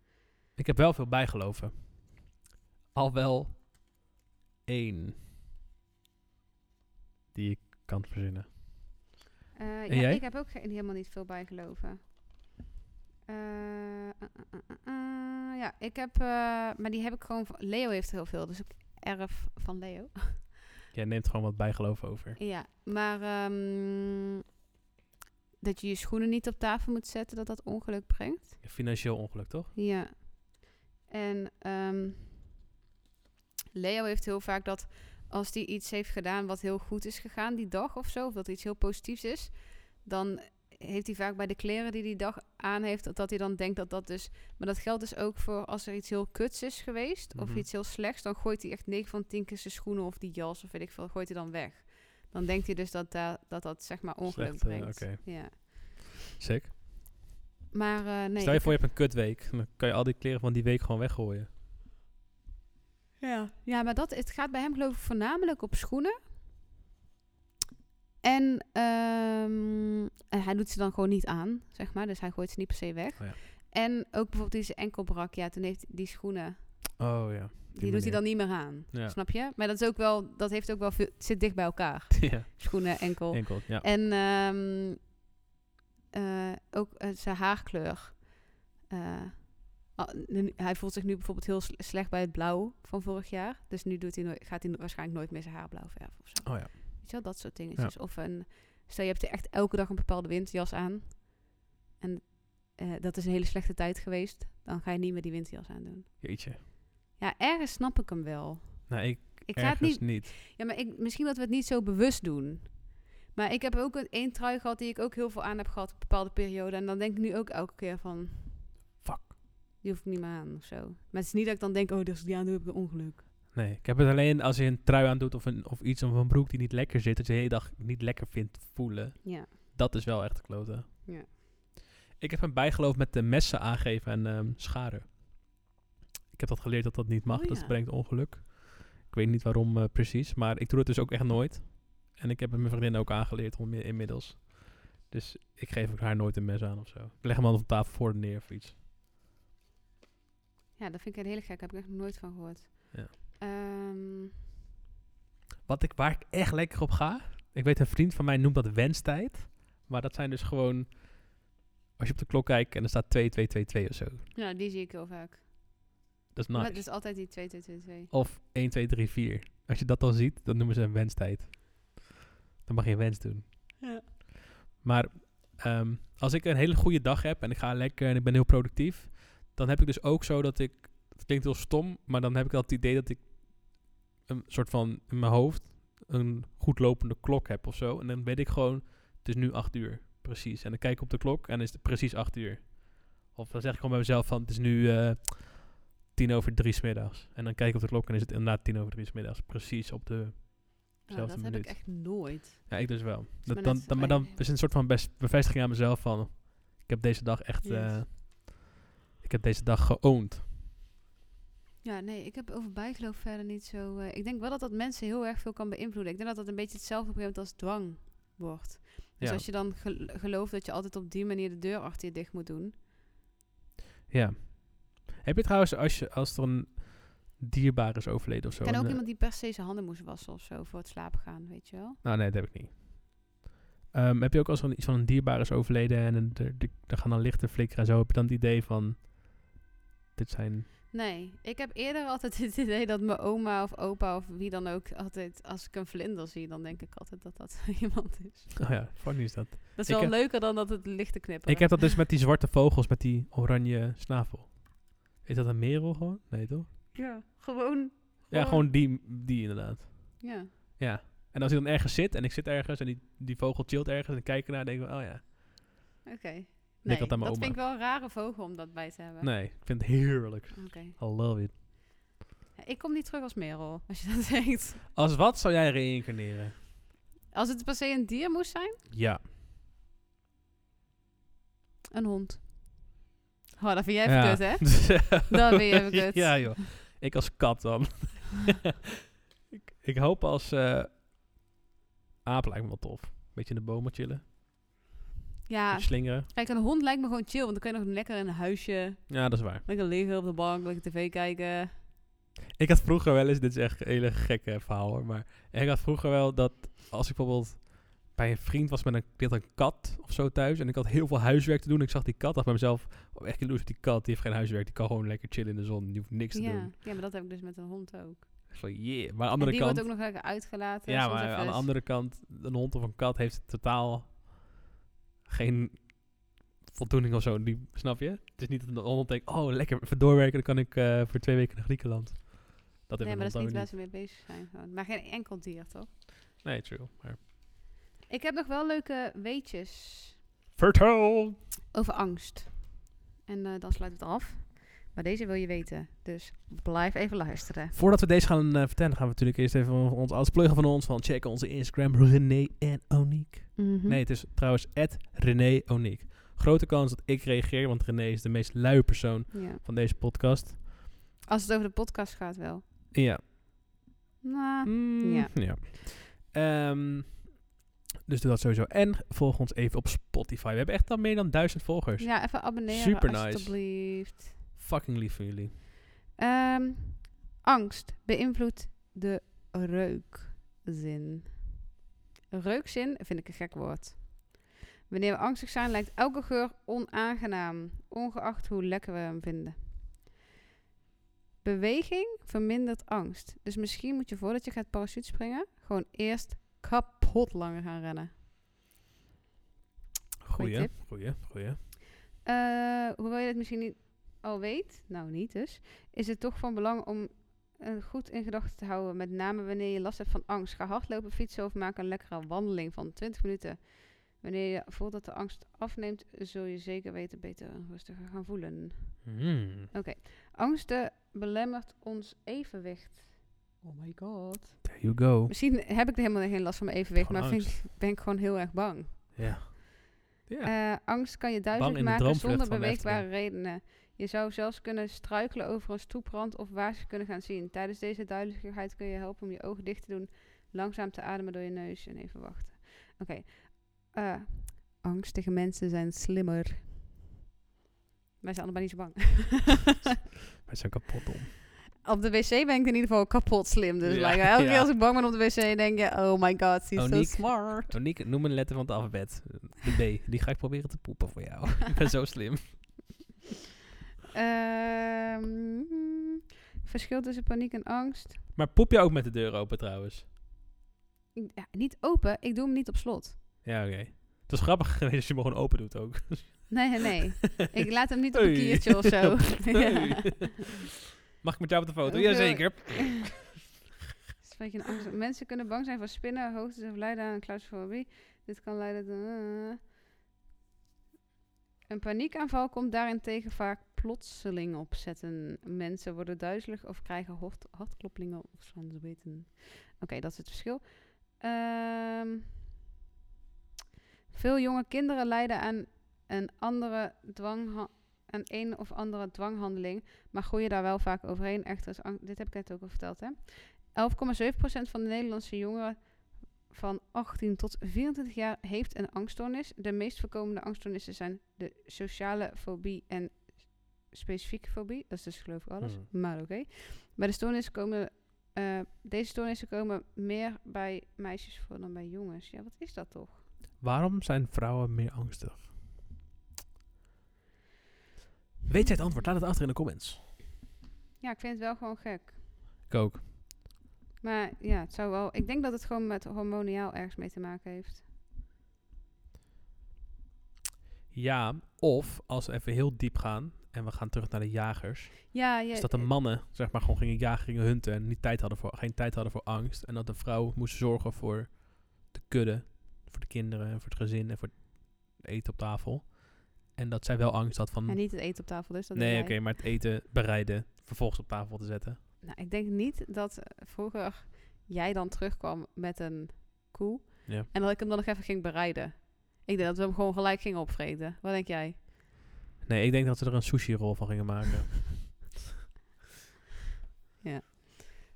Speaker 1: Ik heb wel veel bijgeloven. Al wel één. Die ik kan verzinnen.
Speaker 2: Eh,
Speaker 1: En
Speaker 2: ja,
Speaker 1: jij?
Speaker 2: ik heb ook geen- helemaal niet veel bijgeloven. Eh, eh, eh, eh, eh, ja, ik heb, eh, maar die heb ik gewoon. Van, Leo heeft heel veel, dus ik erf van Leo.
Speaker 1: Jij neemt gewoon wat bijgeloof over.
Speaker 2: ja, maar ehm, dat je je schoenen niet op tafel moet zetten, dat dat ongeluk brengt.
Speaker 1: Financieel ongeluk, toch?
Speaker 2: Ja. En ehm, Leo heeft heel vaak dat als hij iets heeft gedaan wat heel goed is gegaan die dag of zo, of dat iets heel positiefs is, dan heeft hij vaak bij de kleren die die dag aan heeft, dat, dat hij dan denkt dat dat dus... Maar dat geldt dus ook voor als er iets heel kuts is geweest
Speaker 1: Mhm.
Speaker 2: of iets heel slechts, dan gooit hij echt 9 van 10 keer zijn schoenen of die jas of weet ik veel, gooit hij dan weg. Dan denkt hij dus dat da- dat, dat zeg maar ongeluk
Speaker 1: Slecht, eh,
Speaker 2: brengt.
Speaker 1: oké.
Speaker 2: Ja.
Speaker 1: Sick.
Speaker 2: Maar eh, nee.
Speaker 1: Stel je
Speaker 2: ik-
Speaker 1: voor, je hebt een kutweek. Dan kan je al die kleren van die week gewoon weggooien.
Speaker 2: Ja. ja, maar dat, het gaat bij hem geloof ik voornamelijk op schoenen. En, ehm, en hij doet ze dan gewoon niet aan, zeg maar. Dus hij gooit ze niet per se weg.
Speaker 1: Oh ja.
Speaker 2: En ook bijvoorbeeld die zijn enkel brak. Ja, toen heeft hij die schoenen,
Speaker 1: Oh ja.
Speaker 2: die, doet hij dan niet meer aan.
Speaker 1: Ja.
Speaker 2: Snap je? Maar dat is ook wel, dat heeft ook wel veel, het zit dicht bij elkaar.
Speaker 1: ja.
Speaker 2: Schoenen, enkel.
Speaker 1: Enkel, ja.
Speaker 2: Oh. En ehm, eh, ook eh, zijn haarkleur. Eh, ah, nu- hij voelt zich nu bijvoorbeeld heel sle- slecht bij het blauw van vorig jaar. Dus nu doet hij nooit, gaat hij no- waarschijnlijk nooit meer zijn haar blauw verven of zo.
Speaker 1: Oh ja.
Speaker 2: Weet je wel, dat soort dingetjes. Of een, stel je hebt echt elke dag een bepaalde windjas aan. En eh, dat is een hele slechte tijd geweest. Dan ga je niet meer die windjas aandoen.
Speaker 1: Jeetje.
Speaker 2: Ja, ergens snap ik hem wel.
Speaker 1: Nou, ik,
Speaker 2: Ik ga het
Speaker 1: ergens
Speaker 2: niet
Speaker 1: niet. niet.
Speaker 2: ja, maar ik, misschien dat we het niet zo bewust doen. Maar ik heb ook een, één trui gehad die ik ook heel veel aan heb gehad op een bepaalde periode. En dan denk ik nu ook elke keer van,
Speaker 1: Fuck.
Speaker 2: die hoef ik niet meer aan of zo. Maar het is niet dat ik dan denk, oh, als ik die aan doe, heb ik een ongeluk.
Speaker 1: Nee, ik heb het alleen als je een trui aandoet of, een, of iets of een broek die niet lekker zit, dat je de hele dag niet lekker vindt voelen.
Speaker 2: Ja.
Speaker 1: Dat is wel echt de klote.
Speaker 2: Ja.
Speaker 1: Ik heb een bijgeloof met de messen aangeven en ehm, scharen. Ik heb dat geleerd dat dat niet mag,
Speaker 2: Oh
Speaker 1: dat
Speaker 2: ja.
Speaker 1: brengt ongeluk. Ik weet niet waarom eh, precies, maar ik doe het dus ook echt nooit. En ik heb het mijn vriendin ook aangeleerd om, inmiddels. Dus ik geef ook haar nooit een mes aan of zo. Ik leg hem altijd op tafel voor de neer of iets.
Speaker 2: Ja, dat vind ik een hele gek. Daar heb ik echt nog nooit van gehoord.
Speaker 1: Ja.
Speaker 2: Ehm,
Speaker 1: Wat ik, waar ik echt lekker op ga. Ik weet, een vriend van mij noemt dat wenstijd. Maar dat zijn dus gewoon. Als je op de klok kijkt en er staat 2, 2, 2, 2 of zo.
Speaker 2: ja, die zie ik heel vaak.
Speaker 1: Dat is
Speaker 2: Maar dus-
Speaker 1: nice.
Speaker 2: het is altijd die 2222.
Speaker 1: Of 1, 2, 3, 4. Als je dat dan ziet, dan noemen ze een wenstijd. Dan mag je een wens doen.
Speaker 2: Ja.
Speaker 1: Maar ehm, als ik een hele goede dag heb en ik ga lekker en ik ben heel productief. Dan heb ik dus ook zo dat ik. Het klinkt heel stom, maar dan heb ik dat het idee dat ik een soort van in mijn hoofd een goed lopende klok heb of zo. En dan weet ik gewoon, het is nu acht uur. Precies. En dan kijk ik op de klok en dan is het precies acht uur. Of dan zeg ik gewoon bij mezelf van, het is nu eh, tien over drie 's middags. En dan kijk ik op de klok en is het inderdaad tien over drie 's middags. Precies op de...
Speaker 2: Oh,
Speaker 1: Zelfde
Speaker 2: dat heb
Speaker 1: minuut.
Speaker 2: ik echt nooit.
Speaker 1: Ja, ik dus wel. Dat,
Speaker 2: maar
Speaker 1: dan,
Speaker 2: net-
Speaker 1: dan, maar
Speaker 2: maar-
Speaker 1: dan is een soort van best bevestiging aan mezelf van... Ik heb deze dag echt...
Speaker 2: Yes.
Speaker 1: eh, ik heb deze dag geoond.
Speaker 2: Ja, nee, ik heb over bijgeloof verder niet zo... eh, ik denk wel dat dat mensen heel erg veel kan beïnvloeden. Ik denk dat dat een beetje hetzelfde op een gegeven moment als dwang wordt. Dus
Speaker 1: Ja.
Speaker 2: als je dan gel- gelooft dat je altijd op die manier de deur achter je dicht moet doen.
Speaker 1: ja. Heb je trouwens, als, je, als er een dierbaar is overleden of zo...
Speaker 2: Ik ken
Speaker 1: een,
Speaker 2: ook
Speaker 1: eh,
Speaker 2: iemand die per se zijn handen moest wassen of zo voor het slapen gaan, weet je wel.
Speaker 1: Nou, nee, dat heb ik niet. Ehm, heb je ook als er iets van een dierbare is overleden en een- er, er- er gaan dan lichten flikkeren en zo, heb je dan het idee van, dit zijn
Speaker 2: Nee, ik heb eerder altijd het idee dat mijn oma of opa of wie dan ook altijd, als ik een vlinder zie, dan denk ik altijd dat dat iemand is.
Speaker 1: Oh ja, funny is dat.
Speaker 2: Dat is
Speaker 1: Ik
Speaker 2: wel
Speaker 1: heb-
Speaker 2: leuker dan dat het licht te knippen.
Speaker 1: Ik heb dat dus met die zwarte vogels met die oranje snavel. Is dat een merel gewoon? Nee, toch?
Speaker 2: Ja, gewoon.
Speaker 1: Ja, gewoon die, die inderdaad.
Speaker 2: Ja.
Speaker 1: Ja. En als ik dan ergens zit en ik zit ergens en die, die vogel chillt ergens en kijk ernaar, denk ik, wel, oh ja.
Speaker 2: Oké. Nee,
Speaker 1: altijd
Speaker 2: dat
Speaker 1: aan mijn oma.
Speaker 2: vind ik wel een rare vogel om dat bij te hebben.
Speaker 1: Nee, ik vind het heerlijk.
Speaker 2: Oké.
Speaker 1: I love it.
Speaker 2: Ja, ik kom niet terug als Merel, als je dat denkt.
Speaker 1: Als wat zou jij reïncarneren?
Speaker 2: Als het per se een dier moest zijn,
Speaker 1: Ja.
Speaker 2: een hond. Oh, dat vind jij
Speaker 1: Ja.
Speaker 2: even kut, hè? Dat vind je even kut.
Speaker 1: Ja, joh. Ik als kat dan. ik, ik hoop als... eh aap lijkt me wel tof. Beetje in de bomen chillen.
Speaker 2: Ja,
Speaker 1: beetje slingeren.
Speaker 2: kijk, een hond lijkt me gewoon chill, want dan kun je nog lekker in een huisje,
Speaker 1: Ja, dat is waar.
Speaker 2: lekker liggen op de bank, lekker tv kijken.
Speaker 1: Ik had vroeger wel eens, dit is echt een hele gekke verhaal hoor, maar ik had vroeger wel dat als ik bijvoorbeeld bij een vriend was met een, die had een kat of zo thuis en ik had heel veel huiswerk te doen. Ik zag die kat, dacht bij mezelf, oh, echt jaloers op die kat, die heeft geen huiswerk, die kan gewoon lekker chillen in de zon, die hoeft niks te
Speaker 2: Ja.
Speaker 1: doen.
Speaker 2: ja, maar dat heb ik dus met een hond ook.
Speaker 1: Ik Van yeah, maar aan de
Speaker 2: En
Speaker 1: andere
Speaker 2: die
Speaker 1: kant,
Speaker 2: wordt ook nog lekker uitgelaten.
Speaker 1: ja,
Speaker 2: soms
Speaker 1: maar
Speaker 2: even dus.
Speaker 1: aan de
Speaker 2: eens-
Speaker 1: andere kant, een hond of een kat heeft totaal geen voldoening of zo, die, snap je? Het is niet dat een hond denkt, oh lekker, even doorwerken, dan kan ik eh, voor twee weken naar Griekenland. Dat heeft
Speaker 2: Nee,
Speaker 1: een
Speaker 2: maar
Speaker 1: hond
Speaker 2: dat is
Speaker 1: ook
Speaker 2: niet
Speaker 1: niet.
Speaker 2: waar ze mee bezig zijn. Gewoon. Maar geen enkel dier, toch?
Speaker 1: Nee, true, maar...
Speaker 2: Ik heb nog wel leuke weetjes
Speaker 1: Vertel!
Speaker 2: over angst. En eh, dan sluit het af. Maar deze wil je weten. Dus blijf even luisteren.
Speaker 1: Voordat we deze gaan eh, vertellen, gaan we natuurlijk eerst even ons als pluggen van ons. Van check onze Instagram, René en Oniek.
Speaker 2: Hm?
Speaker 1: Nee, het is trouwens at René Oniek. Grote kans dat ik reageer, want René is de meest luie persoon
Speaker 2: Ja.
Speaker 1: van deze podcast.
Speaker 2: Als het over de podcast gaat wel.
Speaker 1: Ja.
Speaker 2: Nou,
Speaker 1: Mm,
Speaker 2: Ja.
Speaker 1: Ehm, dus doe dat sowieso. En volg ons even op Spotify. We hebben echt al meer dan duizend volgers.
Speaker 2: ja, even abonneren
Speaker 1: Super nice.
Speaker 2: alsjeblieft.
Speaker 1: Fucking lief van jullie.
Speaker 2: Ehm, angst beïnvloedt de reukzin. Reukzin vind ik een gek woord. Wanneer we angstig zijn, lijkt elke geur onaangenaam, ongeacht hoe lekker we hem vinden. Beweging vermindert angst. Dus misschien moet je voordat je gaat parachutespringen, gewoon eerst kapot langer gaan rennen. Goeie
Speaker 1: Goeie,
Speaker 2: tip.
Speaker 1: goeie, goeie.
Speaker 2: Eh, hoewel je dat misschien niet al weet, nou niet dus, is het toch van belang om eh, goed in gedachten te houden. Met name wanneer je last hebt van angst. Ga hardlopen, fietsen of maak een lekkere wandeling van 20 minuten. Wanneer je voelt dat de angst afneemt, zul je zeker weten beter en rustiger gaan voelen.
Speaker 1: Mm,
Speaker 2: Angsten belemmert ons evenwicht. Oh my god.
Speaker 1: there you go.
Speaker 2: Misschien heb ik er helemaal geen last van mijn evenwicht,
Speaker 1: Gewoon
Speaker 2: maar vind ik, ben ik gewoon heel erg bang.
Speaker 1: Ja. Ja.
Speaker 2: Eh, angst kan je
Speaker 1: Bang
Speaker 2: duizelig
Speaker 1: in de
Speaker 2: maken
Speaker 1: droomvlucht
Speaker 2: zonder
Speaker 1: van de
Speaker 2: beweegbare redenen. Je zou zelfs kunnen struikelen over een stoeprand of waarschuwing kunnen gaan zien. Tijdens deze duizeligheid kun je helpen om je ogen dicht te doen, langzaam te ademen door je neus en even wachten. Oké. Eh, angstige mensen zijn slimmer. Wij zijn allebei niet zo bang.
Speaker 1: Wij zijn kapot om.
Speaker 2: op de wc ben ik in ieder geval kapot slim. Dus
Speaker 1: Ja,
Speaker 2: like, elke keer
Speaker 1: ja.
Speaker 2: als ik bang ben op de wc, denk je, oh my god, she's so
Speaker 1: Oniek.
Speaker 2: smart.
Speaker 1: Toniek, noem een letter van het alfabet. De B. Die ga ik proberen te poepen voor jou. ik ben zo slim.
Speaker 2: Ehm, verschil tussen paniek en angst.
Speaker 1: Maar poep je ook met de deur open trouwens?
Speaker 2: Ik- ja, niet open, ik doe hem niet op slot.
Speaker 1: Ja, oké. Het is grappig geweest als je hem gewoon open doet ook.
Speaker 2: Nee, nee, nee. ik laat hem niet op een
Speaker 1: Hey.
Speaker 2: kiertje of zo.
Speaker 1: Hey.
Speaker 2: ja.
Speaker 1: Mag ik met jou op de foto?
Speaker 2: Hoeveel-
Speaker 1: Jazeker.
Speaker 2: Dat is een beetje een angst. Mensen kunnen bang zijn voor spinnen, hoogtes of lijden aan claustrofobie. Dit kan leiden tot... eh, Een paniekaanval komt daarentegen vaak plotseling opzetten. Mensen worden duizelig of krijgen hort- hartkloppingen of slaan ze weten. Oké, dat is het verschil. Ehm, veel jonge kinderen lijden aan een, andere dwang aan een of andere dwanghandeling, maar groeien daar wel vaak overheen. Echter is ang- dit heb ik net ook al verteld, hè? 11,7% van de Nederlandse jongeren van 18 tot 24 jaar heeft een angststoornis. De meest voorkomende angststoornissen zijn de sociale fobie en specifieke fobie. Dat is dus geloof ik alles,
Speaker 1: Mhm.
Speaker 2: maar oké. Bij de stoornissen komen... eh, deze stoornissen komen meer bij meisjes voor dan bij jongens. Ja, wat is dat toch?
Speaker 1: Waarom zijn vrouwen meer angstig? Weet jij het antwoord? Laat het achter in de comments.
Speaker 2: Ja, ik vind het wel gewoon gek.
Speaker 1: Ik ook.
Speaker 2: Maar ja, het zou wel. Ik denk dat het gewoon met hormoniaal ergens mee te maken heeft.
Speaker 1: Ja, of als we even heel diep gaan en we gaan terug naar de jagers.
Speaker 2: Ja, eh, je,
Speaker 1: Is dat de mannen, zeg maar, gewoon gingen jagen, gingen hunten en niet tijd hadden voor, geen tijd hadden voor angst. En dat de vrouw moest zorgen voor de kudde, voor de kinderen en voor het gezin en voor het eten op tafel. En dat zij wel angst had van...
Speaker 2: En niet het eten op tafel, dus dat doe
Speaker 1: nee,
Speaker 2: jij.
Speaker 1: oké, maar het eten bereiden, vervolgens op tafel te zetten.
Speaker 2: Nou, ik denk niet dat eh, vroeger jij dan terugkwam met een koe.
Speaker 1: Ja.
Speaker 2: En dat ik hem dan nog even ging bereiden. Ik denk dat we hem gewoon gelijk gingen opvreten. Wat denk jij?
Speaker 1: Nee, ik denk dat ze er een sushi-rol van gingen maken.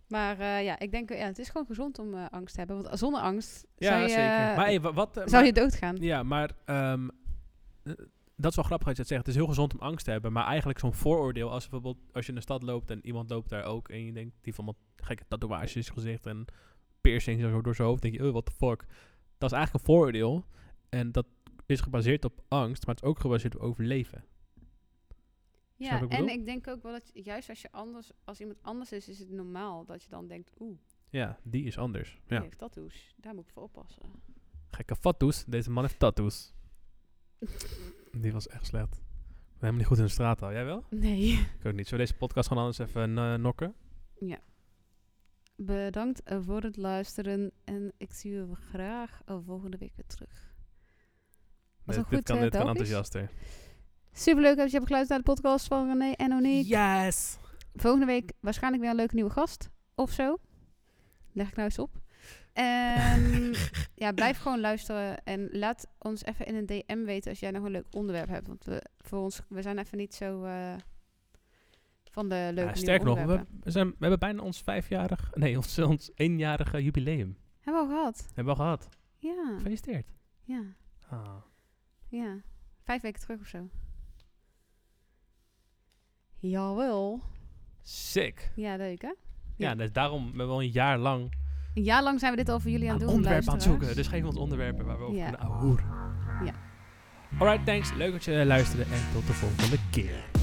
Speaker 2: Maar eh, ja, ik denk, eh, ja, het is gewoon gezond om eh, angst te hebben. Want zonder angst
Speaker 1: ja,
Speaker 2: zou je,
Speaker 1: zeker.
Speaker 2: eh,
Speaker 1: maar hey, wa- wat... eh, maar-
Speaker 2: zou je doodgaan.
Speaker 1: Ja, maar ehm, eh, dat is wel grappig dat je dat zegt. Het is heel gezond om angst te hebben, maar eigenlijk zo'n vooroordeel als bijvoorbeeld als je in de stad loopt en iemand loopt daar ook en je denkt die heeft allemaal gekke tatoeages in zijn gezicht en piercings en zo door zijn hoofd, denk je, oh what the fuck. Dat is eigenlijk een vooroordeel en dat is gebaseerd op angst, maar het is ook gebaseerd op overleven.
Speaker 2: Ja,
Speaker 1: Snap ik
Speaker 2: en
Speaker 1: bedoel?
Speaker 2: ik denk ook wel dat je- juist als je anders, als iemand anders is, is het normaal dat je dan denkt, oeh,
Speaker 1: Ja, die is anders.
Speaker 2: die
Speaker 1: Ja.
Speaker 2: heeft tattoos. Daar moet ik voor oppassen.
Speaker 1: Gekke tattoos. Deze man heeft tattoos. Die was echt slecht. Ik ben helemaal niet goed in de straat al. Jij wel?
Speaker 2: Nee.
Speaker 1: Ik ook niet. Zullen we deze podcast gewoon anders even eh, nokken?
Speaker 2: Bedankt eh, voor het luisteren en ik zie u graag eh, volgende week weer terug. Was
Speaker 1: dit,
Speaker 2: een
Speaker 1: dit
Speaker 2: goed,
Speaker 1: kan,
Speaker 2: eh,
Speaker 1: dit kan
Speaker 2: Belgisch?
Speaker 1: enthousiaster.
Speaker 2: Superleuk dat je hebt geluisterd naar de podcast van René en Onique.
Speaker 1: Yes!
Speaker 2: Volgende week waarschijnlijk weer een leuke nieuwe gast of zo. Leg ik nou eens op. Ehm, ja, blijf gewoon luisteren en laat ons even in een DM weten als jij nog een leuk onderwerp hebt. Want we, voor ons, we zijn even niet zo eh, van de leuke nieuwe
Speaker 1: sterker nog, we,
Speaker 2: onderwerpen.
Speaker 1: we zijn, we hebben bijna ons vijfjarig, nee, ons, ons eenjarige jubileum.
Speaker 2: Hebben we al gehad.
Speaker 1: Hebben we al gehad.
Speaker 2: Ja,
Speaker 1: Gefeliciteerd.
Speaker 2: ja, ja. Vijf weken terug of zo. Jawel.
Speaker 1: Sick.
Speaker 2: Ja, leuk hè?
Speaker 1: Ja, dus daarom hebben we al een jaar lang
Speaker 2: Een jaar lang zijn we dit al voor jullie aan
Speaker 1: aan
Speaker 2: het doen.
Speaker 1: onderwerpen aan het
Speaker 2: luisteraars.
Speaker 1: zoeken. Dus geef ons onderwerpen waar we over
Speaker 2: Ja.
Speaker 1: kunnen ahoeren.
Speaker 2: Ja.
Speaker 1: eh, Alright, thanks. Leuk dat je luisterde en tot de volgende keer.